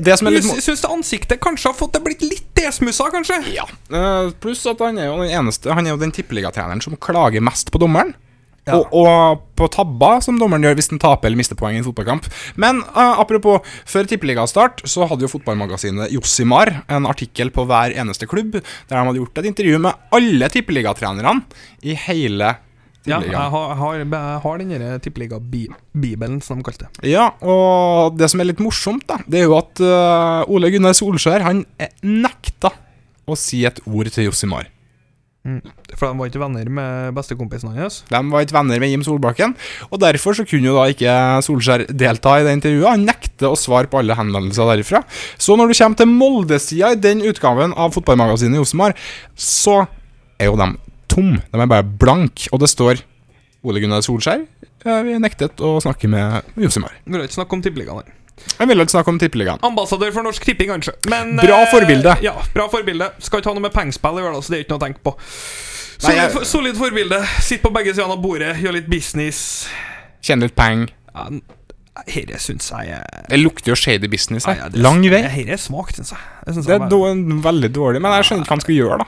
Speaker 3: Det som er
Speaker 4: Du
Speaker 3: litt mo-
Speaker 4: sy- syns det ansiktet kanskje har fått det blitt litt desmussa, kanskje?
Speaker 3: Ja. Eh, Pluss at han er jo den eneste Han er jo den tippeligatreneren som klager mest på dommeren. Og, og på tabber som dommeren gjør hvis den taper eller mister poeng i en fotballkamp. Men eh, apropos, før tippeligastart så hadde jo fotballmagasinet Jossimar en artikkel på hver eneste klubb der de hadde gjort et intervju med alle tippeligatrenerne i hele
Speaker 4: Ja, jeg
Speaker 3: tippeligaen.
Speaker 4: har, jeg har, jeg har den derre tippeliga-bibelen, som de kalte det.
Speaker 3: Ja, og det som er litt morsomt, da, det er jo at eh, Ole Gunnar Solskjær han eh, nekta å si et ord til Jossimar.
Speaker 4: For de var ikke venner med bestekompisen hans.
Speaker 3: De var ikke venner med Jim Solbakken, og derfor så kunne jo da ikke Solskjær delta i det intervjuet. Han nekter å svare på alle henvendelser derifra. Så når du kommer til Molde-sida i den utgaven av fotballmagasinet Josmar, så er jo de tom. De er bare blank, og det står Ole Gunnar Solskjær eh, vi nektet å snakke med Josimar.
Speaker 4: Vil ikke snakke om tippeligaen her.
Speaker 3: Jeg ville ikke snakke om Tippeligaen.
Speaker 4: Ambassadør for Norsk Tipping, kanskje. Men,
Speaker 3: Bra
Speaker 4: eh,
Speaker 3: forbilde.
Speaker 4: Ja, bra forbilde. Skal ikke ha noe med pengespill å gjøre, da, så det er ikke noe å tenke på.
Speaker 3: Nei,
Speaker 4: Solid,
Speaker 3: jeg-
Speaker 4: for- solid forbilde. Sitt på begge sidene av bordet, gjør litt business.
Speaker 3: Tjene litt penger.
Speaker 4: Ja, n- Herre syns jeg er-
Speaker 3: Det lukter jo shady business her.
Speaker 4: Nei, Ah, ja, det-
Speaker 3: Lang vei.
Speaker 4: Herre er svakt, syns jeg. Jeg, synes
Speaker 3: Det
Speaker 4: jeg
Speaker 3: er
Speaker 4: bare-
Speaker 3: do- veldig dårlig, men jeg skjønner ikke hva han skal gjøre, da.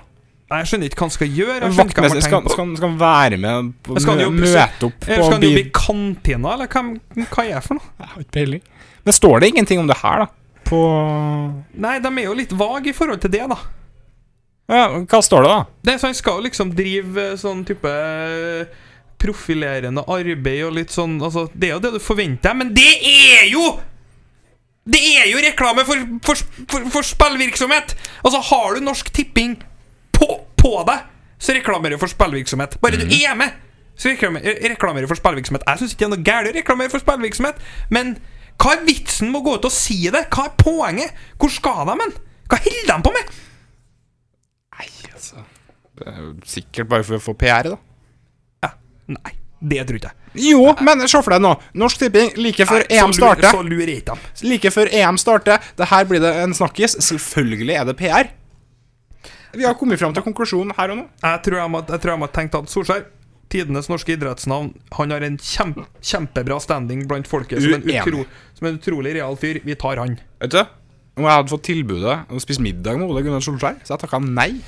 Speaker 4: Nei, jeg skjønner ikke hva han skal gjøre. Jeg skjønner ikke hva han
Speaker 3: Vaktmester
Speaker 4: har
Speaker 3: skal,
Speaker 4: tenkt på.
Speaker 3: skal, skal være med på
Speaker 4: Skal han jo-
Speaker 3: møte opp
Speaker 4: Eller skal
Speaker 3: på
Speaker 4: han jobbe
Speaker 3: bi-
Speaker 4: i kantina, eller hvem, hva er det for noe?
Speaker 3: Jeg har ikke peiling. Men står det ingenting om det her, da? På
Speaker 4: Nei, de er jo litt vage i forhold til det, da.
Speaker 3: ja, Hva står det, da?
Speaker 4: Det, så han skal jo liksom drive eh, sånn type eh, profilerende arbeid og litt sånn altså, Det er jo det du forventer, men det er jo Det er jo reklame for, for, for, for spillvirksomhet! Altså, har du Norsk Tipping på, på deg, så reklamerer du for spillvirksomhet. Bare du er med, så reklamer, re- reklamerer du for spillvirksomhet. Jeg syns ikke det er noe gærent å reklamere for spillvirksomhet, men hva er vitsen med å gå ut og si det? Hva er poenget? Hvor skal de hen? Hva holder de på med? altså.
Speaker 3: Det er jo Sikkert bare for å få PR, da.
Speaker 4: Ja, nei, det tror ikke jeg.
Speaker 3: Jo, men se for deg nå. Norsk Tipping like før
Speaker 4: Nei,
Speaker 3: EM
Speaker 4: så lurer-
Speaker 3: starter.
Speaker 4: Så lurer ikke dem.
Speaker 3: Like før EM starter. Det her blir det en snakkis. Selvfølgelig er det PR. Vi har kommet fram til konklusjonen her og nå.
Speaker 4: Jeg tror jeg må, jeg tror jeg må tenke at Solskjær, tidenes norske idrettsnavn, han har en kjem, kjempebra standing blant folket. Som en,
Speaker 3: Uenig.
Speaker 4: utro, som en utrolig real fyr. Vi tar han.
Speaker 3: Vet du? Om jeg hadde fått tilbudet å spise middag med Ole Gunnar Solskjær, så jeg takka nei.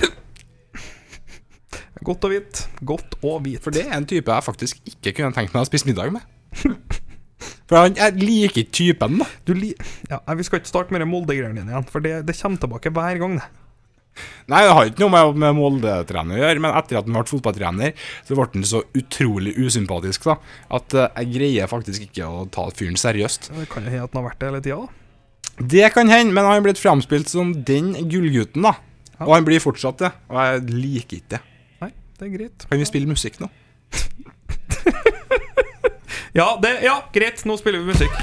Speaker 4: Godt og hvitt. Godt og hvitt.
Speaker 3: For det er en type jeg faktisk ikke kunne tenkt meg å spise middag med. For han- jeg liker ikke typen, da.
Speaker 4: Du li ja, nei, vi skal ikke starte med de Molde-greiene dine igjen, for det, det kommer tilbake hver gang. det.
Speaker 3: Nei, det har ikke noe med, med Molde-trener å gjøre, men etter at han ble fotballtrener, så ble han så utrolig usympatisk, da, at eh, jeg greier faktisk ikke å ta fyren seriøst.
Speaker 4: Det kan jo hende at han har vært det hele tida, da.
Speaker 3: Det kan hende, men han er blitt framspilt som den gullgutten, da. Og han blir fortsatt det. Og jeg liker ikke det.
Speaker 4: Nei, det er greit.
Speaker 3: Kan vi spille musikk nå?
Speaker 4: Ja, det, ja, greit. Nå spiller vi musikk.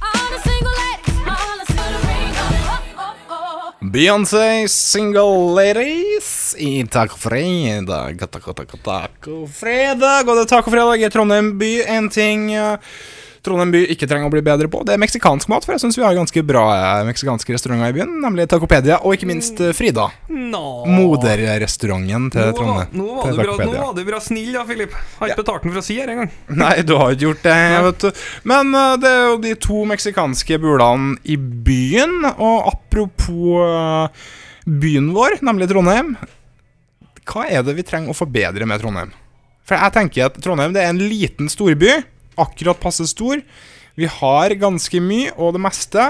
Speaker 2: All the single ladies, all the single ladies. Oh, oh, oh.
Speaker 3: Beyoncé Single Ladies i Tacofredag. Taco, taco, tacofredag. Og det er tacofredag i Trondheim by. En ting eh, Trondheim by ikke trenger å bli bedre på, det er meksikansk mat. For jeg syns vi har ganske bra eh, meksikanske restauranter i byen, nemlig Tacopedia og ikke minst eh, Frida.
Speaker 4: Nå.
Speaker 3: Moderrestauranten til
Speaker 4: Nå var,
Speaker 3: Trondheim.
Speaker 4: nå, var
Speaker 3: til
Speaker 4: du bra, nå
Speaker 3: Tacopedia.
Speaker 4: var du bra snill, da, Filip. Har ikke betalt den for å si her engang.
Speaker 3: Nei, du har ikke gjort det, vet du. Men eh, det er jo de to meksikanske bulene i byen. Og apropos eh, byen vår, nemlig Trondheim. Hva er det vi trenger å forbedre med Trondheim? For jeg tenker at Trondheim det er en liten storby. Akkurat passe stor. Vi har ganske mye og det meste.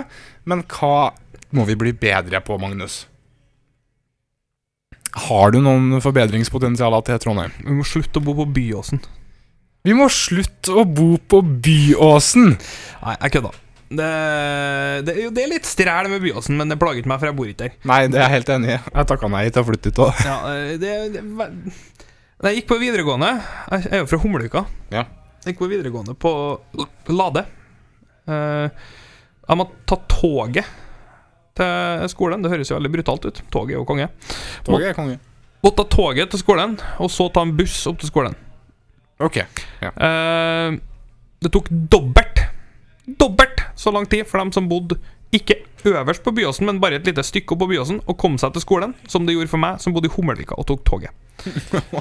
Speaker 3: Men hva må vi bli bedre på, Magnus? Har du noen forbedringspotensialer til Trondheim?
Speaker 4: Vi må slutte å bo på Byåsen.
Speaker 3: Vi må slutte å bo på Byåsen.
Speaker 4: Nei, jeg kødda. Det, det, er jo- det er litt stræl med Byåsen, men det plager ikke meg, for jeg bor ikke der.
Speaker 3: Nei, det er jeg helt enig i. Jeg takka nei til å flytte ut òg.
Speaker 4: Ja, eh, det, det, hva- Da jeg gikk på videregående Jeg er jo fra Humleuka.
Speaker 3: Ja.
Speaker 4: Jeg gikk på videregående på Lade. Eh, jeg måtte ta toget til skolen. Det høres jo veldig brutalt ut. Toget er jo konge.
Speaker 3: Toget er konge.
Speaker 4: Måtte ta toget til skolen, og så ta en buss opp til skolen.
Speaker 3: Ok.
Speaker 4: Eh, det tok dobbelt Dobbelt så lang tid for dem som bodde ikke øverst på Byåsen, men bare et lite stykke opp på Byåsen, å komme seg til skolen, som det gjorde for meg, som bodde i Hummelvika og tok toget.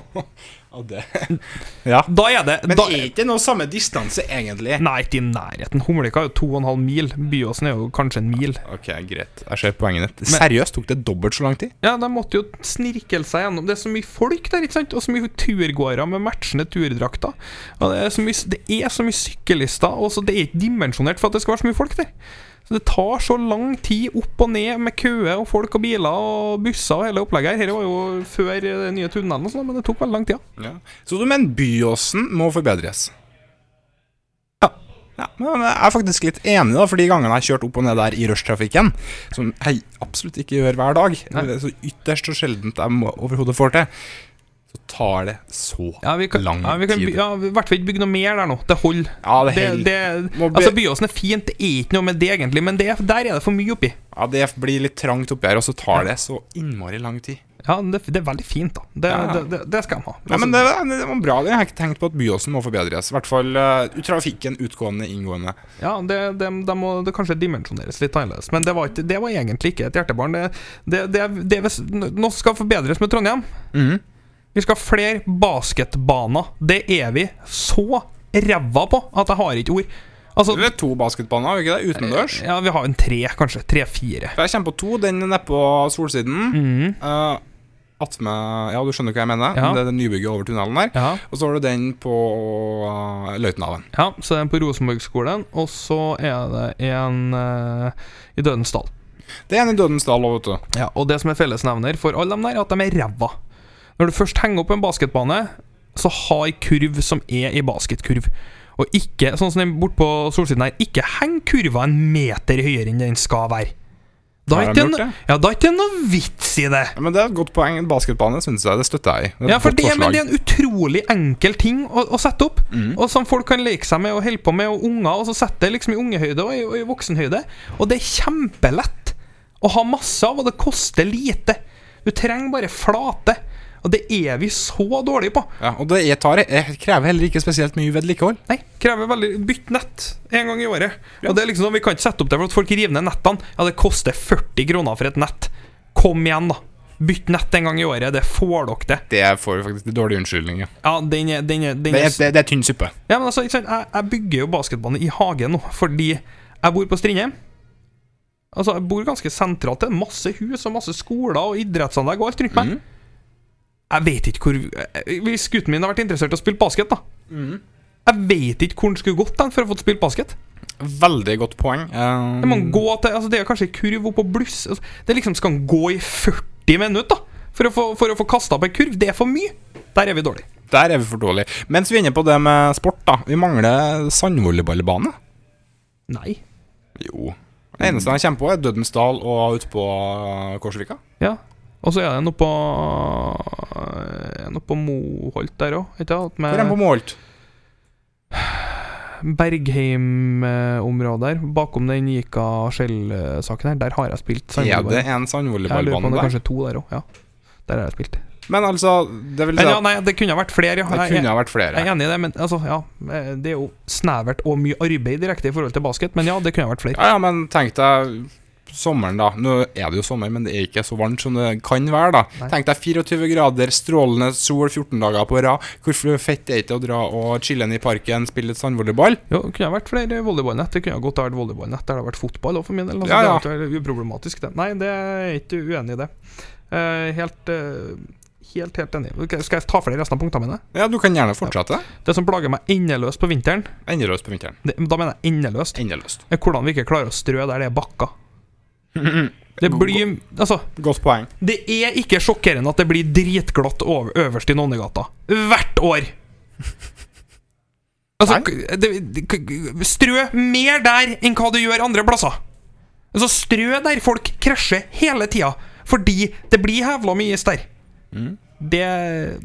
Speaker 3: Ja.
Speaker 4: Da er det
Speaker 3: Men
Speaker 4: da,
Speaker 3: er ikke noe samme distanse, egentlig.
Speaker 4: Nei, ikke i nærheten. Hummelvika er jo to og en halv mil. Byåsen er jo kanskje en mil.
Speaker 3: Ok, greit. Jeg ser poenget ditt. Seriøst, tok det dobbelt så lang tid?
Speaker 4: Ja, de måtte jo snirkle seg gjennom. Det er så mye folk der, ikke sant? Og så mye turgåere med matchende turdrakter. Og det er så mye, det er så mye syklister, og så det er ikke dimensjonert for at det skal være så mye folk der. Så det tar så lang tid opp og ned med køer og folk og biler og busser og hele opplegget her. Dette var jo før eh, de nye tunnelene og sånn, men det tok veldig lang tid. ja.
Speaker 3: Så du mener Byåsen må forbedres? Ja. ja. Men jeg er faktisk litt enig, da, for de gangene jeg kjørte opp og ned der i rushtrafikken, som jeg absolutt ikke gjør hver dag,
Speaker 4: Nei.
Speaker 3: det er så ytterst så sjeldent jeg må- overhodet får til, så tar det så
Speaker 4: Ja, vi kan,
Speaker 3: lang
Speaker 4: ja, vi kan, by-
Speaker 3: tid.
Speaker 4: ja, vi- i hvert fall ikke bygge noe mer der nå. Det holder.
Speaker 3: Ja, det,
Speaker 4: Det,
Speaker 3: hel-
Speaker 4: det,
Speaker 3: må be-
Speaker 4: altså, Byåsen er fint, det er ikke noe med det egentlig, men det, der er det for mye oppi.
Speaker 3: ja, det blir litt trangt oppi her, og så tar det så innmari lang tid.
Speaker 4: Ja, det, det er veldig fint, da. Det,
Speaker 3: Ja.
Speaker 4: det, det, det skal de ha.
Speaker 3: Ja, men det, det var bra. det. Jeg har ikke tenkt på at Byåsen må forbedres. I hvert fall eh, trafikken utgående, inngående.
Speaker 4: Altså, Ja, det, det, det må det kanskje dimensjoneres litt annerledes. Men det var, ikke, det var egentlig ikke et hjertebarn. Det, det, det, det, hvis- nå skal forbedres med Trondheim.
Speaker 3: Mhm.
Speaker 4: Vi skal ha flere basketbaner. Det er vi så ræva på at jeg har ikke ord. Altså,
Speaker 3: Det er to basketbaner, har vi ikke det? Utendørs.
Speaker 4: ja, vi har en tre, kanskje. Tre-fire.
Speaker 3: For jeg kommer på to. Den er nede på solsiden. Eh, Atme Ja, du skjønner hva jeg mener?
Speaker 4: Mhm. Ja.
Speaker 3: Det er det nybygget over tunnelen der.
Speaker 4: Ja.
Speaker 3: Og så har du den på uh, Løitenhaven.
Speaker 4: ja, så er det en på Rosenborg-skolen. Og så er det en eh, i Dødensdal.
Speaker 3: Det er en i Dødens Dal òg, vet du.
Speaker 4: Ja, og det som er fellesnevner for alle dem der, er at de er ræva. Når du først henger opp en basketbane, så ha ei kurv som er ei basketkurv. Og ikke, sånn som den borte på solsiden her, ikke heng kurva en meter høyere enn den skal være. Da
Speaker 3: Har
Speaker 4: er
Speaker 3: de
Speaker 4: ikke
Speaker 3: gjort
Speaker 4: det
Speaker 3: det?
Speaker 4: ja, da er ikke det noe vits i det.
Speaker 3: Ja, Men det er et godt poeng. En basketbane syns jeg. Det støtter jeg i. er et
Speaker 4: Ja, for
Speaker 3: godt
Speaker 4: det,
Speaker 3: forslag.
Speaker 4: men
Speaker 3: Mm.
Speaker 4: det er en utrolig enkel ting å, å sette opp, og som folk kan leke seg med og holde på med, og unger, og så setter det liksom i ungehøyde og i, og i voksenhøyde. Og det er kjempelett å ha masse av, og det koster lite. Du trenger bare flate. Og det er vi så dårlige på.
Speaker 3: Ja, og det jeg tar, jeg krever heller ikke spesielt mye vedlikehold.
Speaker 4: Nei, krever veldig Bytt nett en gang i året. Og det er liksom sånn, Vi kan ikke sette opp det for at folk river ned nettene. Ja, det koster 40 kroner for et nett. Kom igjen, da. Bytt nett en gang i året. Det får dere til.
Speaker 3: Det får vi faktisk en dårlig unnskyldning. Ja.
Speaker 4: Ja, den er, den er, den
Speaker 3: Det,
Speaker 4: er
Speaker 3: er- det, det er tynn suppe.
Speaker 4: Ja, men altså, ikke sant? Jeg, jeg bygger jo basketbane i hagen nå, fordi jeg bor på Strindheim. Altså, jeg bor ganske sentralt. Det er masse hus og masse skoler og idrettsanlegg og alt rundt meg. Jeg vet ikke hvor eh, Hvis gutten min har vært interessert i å spille basket, da Jeg vet ikke hvor han skulle gått den for å få spilt basket.
Speaker 3: Veldig godt poeng. Eh,
Speaker 4: Det, må han gå til, altså, det er kanskje en kurv opp og bluss. Altså, det er liksom Skal han gå i 40 minutter da, for å få, for å få kasta opp en kurv? Det er for mye. Der er vi dårlige.
Speaker 3: Der er vi for dårlige. Mens vi er inne på det med sport, da. Vi mangler sandvolleyballbane.
Speaker 4: Nei.
Speaker 3: Jo. Det eneste han kommer på, er Dødensdal og ute på eh, Korsvika.
Speaker 4: Ja. Og så er det noe på er det Noe på Moholt der òg, ikke sant?
Speaker 3: Hvor er han på
Speaker 4: Med
Speaker 3: Målt?
Speaker 4: Bergheim-området der. Bakom den Jika-Skjell-saken her. Der har jeg spilt.
Speaker 3: Er det en
Speaker 4: sandvolleyball. Jeg lurer på
Speaker 3: sandvolleyballbane
Speaker 4: om det er
Speaker 3: der?
Speaker 4: kanskje to der òg. Ja. Der har jeg spilt.
Speaker 3: Men altså, det vil si
Speaker 4: Men ja,
Speaker 3: at
Speaker 4: nei, det kunne ha vært flere, ja.
Speaker 3: det
Speaker 4: Jeg-
Speaker 3: kunne ha vært flere.
Speaker 4: Jeg er enig i det, men altså, ja, eh, det er jo snevert og mye arbeid direkte i forhold til basket, men ja, det kunne ha vært flere.
Speaker 3: Ja, ja, men tenk deg sommeren, da. Nå er det jo sommer, men det er ikke så varmt som det kan være, da.
Speaker 4: Nei.
Speaker 3: Tenk deg 24 grader, strålende sol 14 dager på rad. Hvor fett er det ikke å dra og chille i parken, spille litt sandvolleyball?
Speaker 4: Jo, det kunne ha vært flere volleyballnett. Det kunne ha godt ha vært volleyballnett der det har vært fotball òg, for min del. Altså,
Speaker 3: Ja, ja.
Speaker 4: Det er jo uproblematisk, det. Nei, det er jeg ikke uenig i det. Eh, helt, eh, helt, helt enig. Ok, skal jeg ta for deg resten av punktene mine?
Speaker 3: Ja, du kan gjerne fortsette.
Speaker 4: Det som plager meg endeløst på vinteren,
Speaker 3: Endeløst på vinteren.
Speaker 4: det, da mener jeg endeløst,
Speaker 3: Endeløst.
Speaker 4: er hvordan vi ikke klarer å strø der det er bakker. Det blir Altså,
Speaker 3: Godt poeng.
Speaker 4: Det er ikke sjokkerende at det blir dritglatt over, øverst i Nonnegata. Hvert år! Altså, k- det, det- k- strø mer der enn hva du gjør andre plasser. Altså, strø der folk krasjer hele tida, fordi det blir hevla mye is der. Mm. Det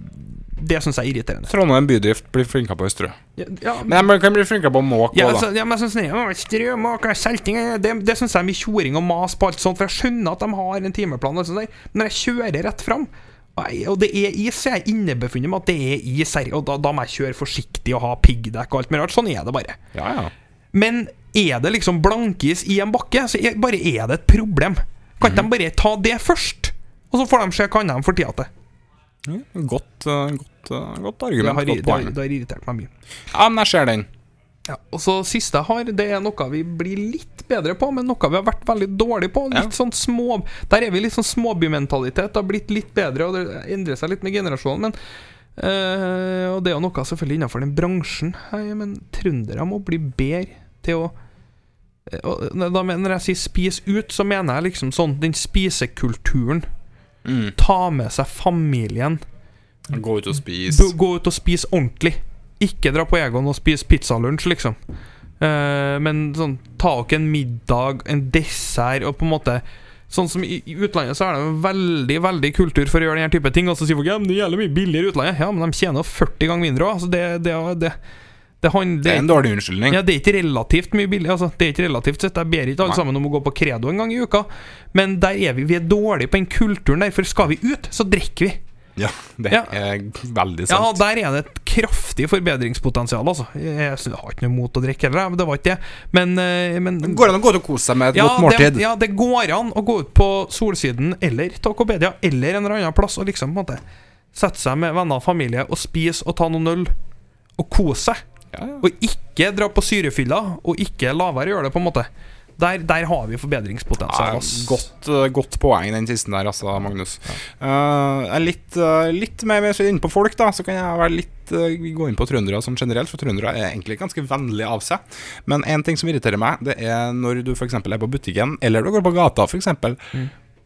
Speaker 4: Det syns jeg er irriterende.
Speaker 3: Trondheim bydrift blir flinkere på å strø.
Speaker 4: Ja, ja,
Speaker 3: Men de kan bli flinkere på å måke
Speaker 4: ja,
Speaker 3: også,
Speaker 4: altså, ja, men jeg synes det, å, strø, maker, selting eh, Det, det syns jeg er mye tjoring og mas på alt sånt, for jeg skjønner at de har en timeplan. Og alt sånt der. Men når jeg kjører rett fram, og jeg- og det er is, så er jeg innebefunnet med at det er is her, og da, da må jeg kjøre forsiktig og ha piggdekk og alt mulig rart. Sånn er det bare.
Speaker 3: da. Ja, ja.
Speaker 4: Men er det liksom blankis i en bakke, så er, bare er det et problem. Kan ikke de bare ta det først? Og så får de se hva annet de får tid til.
Speaker 3: Ja, Godt, eh, godt, eh, godt
Speaker 4: Det
Speaker 3: argument.
Speaker 4: har,
Speaker 3: godt
Speaker 4: det, har,
Speaker 3: poeng.
Speaker 4: det har irritert meg mye.
Speaker 3: Ja, men jeg ser den.
Speaker 4: Ja, og så siste jeg har, det er noe vi blir litt bedre på, men noe vi har vært veldig dårlig på. Litt
Speaker 3: Ja.
Speaker 4: sånn små Der er vi litt sånn småbymentalitet. Det har blitt litt bedre, og det endrer seg litt med generasjonen, men eh, Og det er jo noe selvfølgelig innenfor den bransjen. Hei, men trøndere må bli bedre til å eh, og da men- Når jeg sier 'spis ut', så mener jeg liksom sånn den spisekulturen.
Speaker 3: Mm.
Speaker 4: Ta med seg familien.
Speaker 3: Gå ut og spise.
Speaker 4: Bu- Gå ut og spise ordentlig. Ikke dra på Egon og spise pizzalunsj, liksom. Eh, men sånn, ta dere en middag, en dessert, og på en måte Sånn som i i utlandet så er det jo veldig veldig kultur for å gjøre den her type ting. Og så sier folk ja, men det gjelder mye billigere i utlandet. Ja, men de tjener jo 40 ganger mindre òg. Altså det, det, det, det, handler-
Speaker 3: Det er en dårlig unnskyldning.
Speaker 4: ja, det er ikke relativt mye billig. Altså, det er ikke relativt sett. Jeg ber ikke alle
Speaker 3: Nei.
Speaker 4: sammen om å gå på Credo en gang i uka. Men der er vi, vi er dårlige på den kulturen der, for skal vi ut, så drikker vi.
Speaker 3: Ja, det
Speaker 4: Ja.
Speaker 3: er veldig sant.
Speaker 4: Ja, der er det et kraftig forbedringspotensial, altså. Jeg synes- jeg har ikke noe mot å drikke heller, jeg, men det var ikke det. Men, eh, men
Speaker 3: Går det an å gå ut og kose seg med et godt
Speaker 4: ja,
Speaker 3: måltid?
Speaker 4: det, ja, det går an å gå ut på Solsiden eller Tacopedia eller en eller annen plass og liksom på en måte sette seg med venner og familie og spise og ta noen øl og kose seg.
Speaker 3: Ja, ja.
Speaker 4: Og ikke dra på syrefylla, og ikke la være å gjøre det, på en måte. Der, der har vi forbedringspotensial.
Speaker 3: Ja,
Speaker 4: ass.
Speaker 3: godt, eh, godt poeng, den siste der, altså, Magnus. Eh, jeg er litt, eh, litt mer mer inne på folk, da, så kan jeg være litt eh, gå inn på trøndere sånn generelt. For trøndere er egentlig ganske vennlige av seg. Men én ting som irriterer meg, det er når du f.eks. er på butikken, eller du går på gata, f.eks., eksempel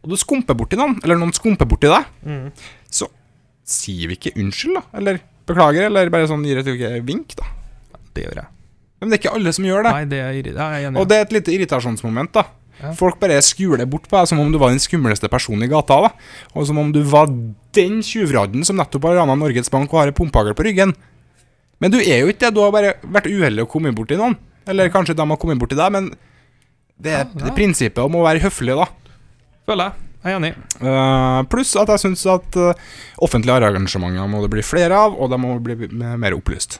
Speaker 3: og du skumper borti noen, eller noen skumper borti deg, så sier vi ikke unnskyld, da. Eller beklager, eller bare sånn gir et lite vink, da.
Speaker 4: Det gjør jeg.
Speaker 3: Men det er ikke alle som gjør det.
Speaker 4: Nei, det er irri- ja, jeg er enig.
Speaker 3: Og det er et lite irritasjonsmoment, da.
Speaker 4: Ja.
Speaker 3: Folk bare skuler bort på deg som om du var den skumleste personen i gata. da Og som om du var den tjuvradden som nettopp har rana Norges Bank og har en pumpehagl på ryggen. Men du er jo ikke det. Du har bare vært uheldig og kommet borti noen. Eller kanskje de har kommet borti deg, men det er det er prinsippet om å være høflig, da.
Speaker 4: Føler jeg. Jeg er enig.
Speaker 3: Eh, pluss at jeg syns at eh, offentlige arrangementer må det bli flere av, og de må bli m- mer opplyst.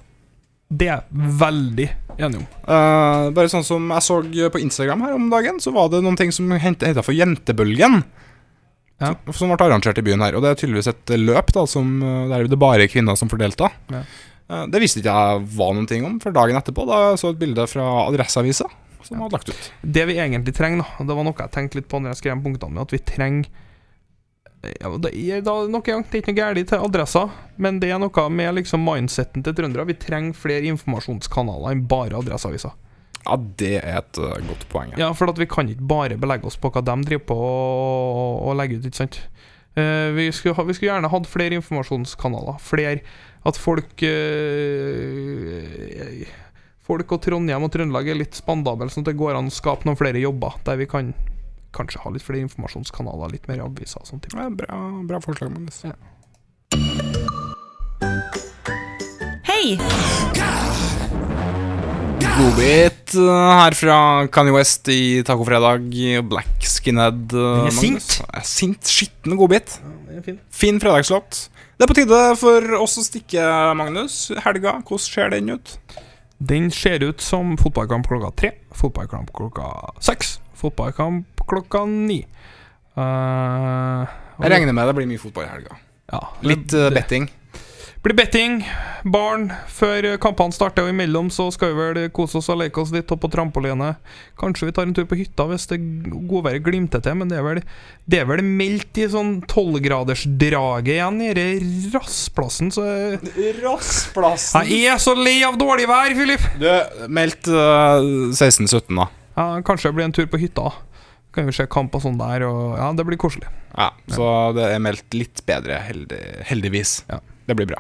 Speaker 4: Det er jeg veldig enig om.
Speaker 3: Eh, bare sånn som jeg så på Instagram her om dagen, så var det noen ting som heta for Jentebølgen.
Speaker 4: Ja.
Speaker 3: Som, som ble arrangert i byen her. Og det er tydeligvis et løp da som, eh, der det bare er kvinner som får delta.
Speaker 4: Ja.
Speaker 3: Eh, det visste ikke jeg var noen ting om, for dagen etterpå da jeg så et bilde fra Adresseavisa som hadde lagt ut.
Speaker 4: Det vi egentlig trenger, da, og det var noe jeg tenkte litt på når jeg skrev punktene mine, at vi trenger ja, det, er da, nok en gang, det er ikke noe galt til adresser, men det er noe med liksom mindseten til trøndere. Vi trenger flere informasjonskanaler enn bare Adresseavisa.
Speaker 3: Ja, det er et eh, godt poeng. Ja.
Speaker 4: Ja, for at vi kan ikke bare belegge oss på hva de driver på og, og legge ut, ikke sant. Eh, vi, skulle ha, vi skulle gjerne hatt flere informasjonskanaler. Flere At folk eh, folk og Trondheim og Trøndelag er litt spandable, sånn at det går an å skape noen flere jobber der vi kan kanskje ha litt flere informasjonskanaler, litt mer aviser og sånn type.
Speaker 3: Ja, bra, bra forslag, Magnus.
Speaker 4: Ja.
Speaker 5: Hei!
Speaker 3: Godbit eh, her fra Kanye West i Tacofredag. Black Skinhead. eh, Den
Speaker 5: er sint.
Speaker 3: Sint, skitten godbit.
Speaker 4: Det er fint.
Speaker 3: Fin fredagslåt. Det er på tide for oss å stikke, Magnus. Helga, hvordan ser den ut?
Speaker 4: Den ser ut som fotballkamp klokka tre, fotballkamp klokka seks, fotballkamp klokka ni. Eh, og
Speaker 3: Jeg regner med det blir mye fotball i helga.
Speaker 4: ja,
Speaker 3: Litt
Speaker 4: det-
Speaker 3: eh, betting.
Speaker 4: blir betting, barn, før kampene starter, og imellom så skal vi vel kose oss og leke oss litt opp på trampoline. Kanskje vi tar en tur på hytta hvis det godværet glimter til, men det er vel, det er vel meldt i sånn tolvgradersdraget igjen nede i rassplassen, så jeg-
Speaker 3: Rassplassen.
Speaker 4: Jeg er så lei av dårlig vær, Filip!
Speaker 3: Du, meldt eh, 16-17, da.
Speaker 4: Ja, kanskje det blir en tur på hytta. Kan vi se kamp og sånn der, og ja, det blir koselig.
Speaker 3: Ja, Så det er meldt litt bedre, heldig, heldigvis.
Speaker 4: Ja.
Speaker 3: Det blir bra.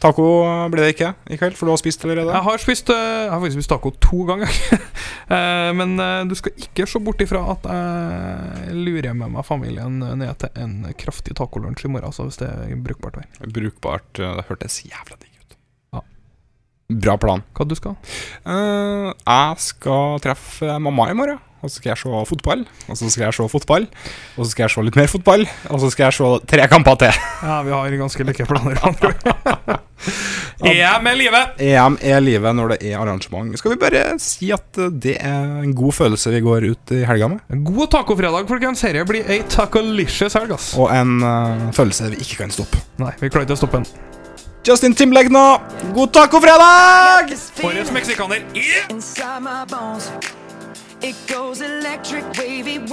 Speaker 3: Taco blir det ikke i kveld, for du har spist allerede?
Speaker 4: Jeg har spist eh, Jeg har faktisk spist taco to ganger. Eh, Men eh, du skal ikke se bort ifra at jeg lurer med meg familien ned til en kraftig tacolunsj i morgen, altså hvis det er brukbart vær.
Speaker 3: Brukbart. eh, Det hørtes jævla digg ut.
Speaker 4: Ja.
Speaker 3: Bra plan.
Speaker 4: Hva du skal?
Speaker 3: Eh, jeg skal treffe mamma i morgen. Og så skal jeg se fotball, og så skal jeg se fotball, og så skal jeg se litt mer fotball, og så skal jeg se tre kamper til.
Speaker 4: Ja, vi har ganske like planer. med andre ord. Er jeg med i live?
Speaker 3: EM er livet når det er arrangement. Skal vi bare si at eh, det er en god følelse vi går ut i helga med,
Speaker 4: God tacofredag, folkens. Dette blir ei tacolicious helg, ass.
Speaker 3: og en eh, følelse vi ikke kan stoppe.
Speaker 4: Nei, vi klarer ikke å stoppe den.
Speaker 3: Justin Timberlake nå. God tacofredag!
Speaker 6: This
Speaker 4: Årets
Speaker 6: feeling
Speaker 4: meksikaner. Yeah!
Speaker 6: inside my bones. It goes electric wavy when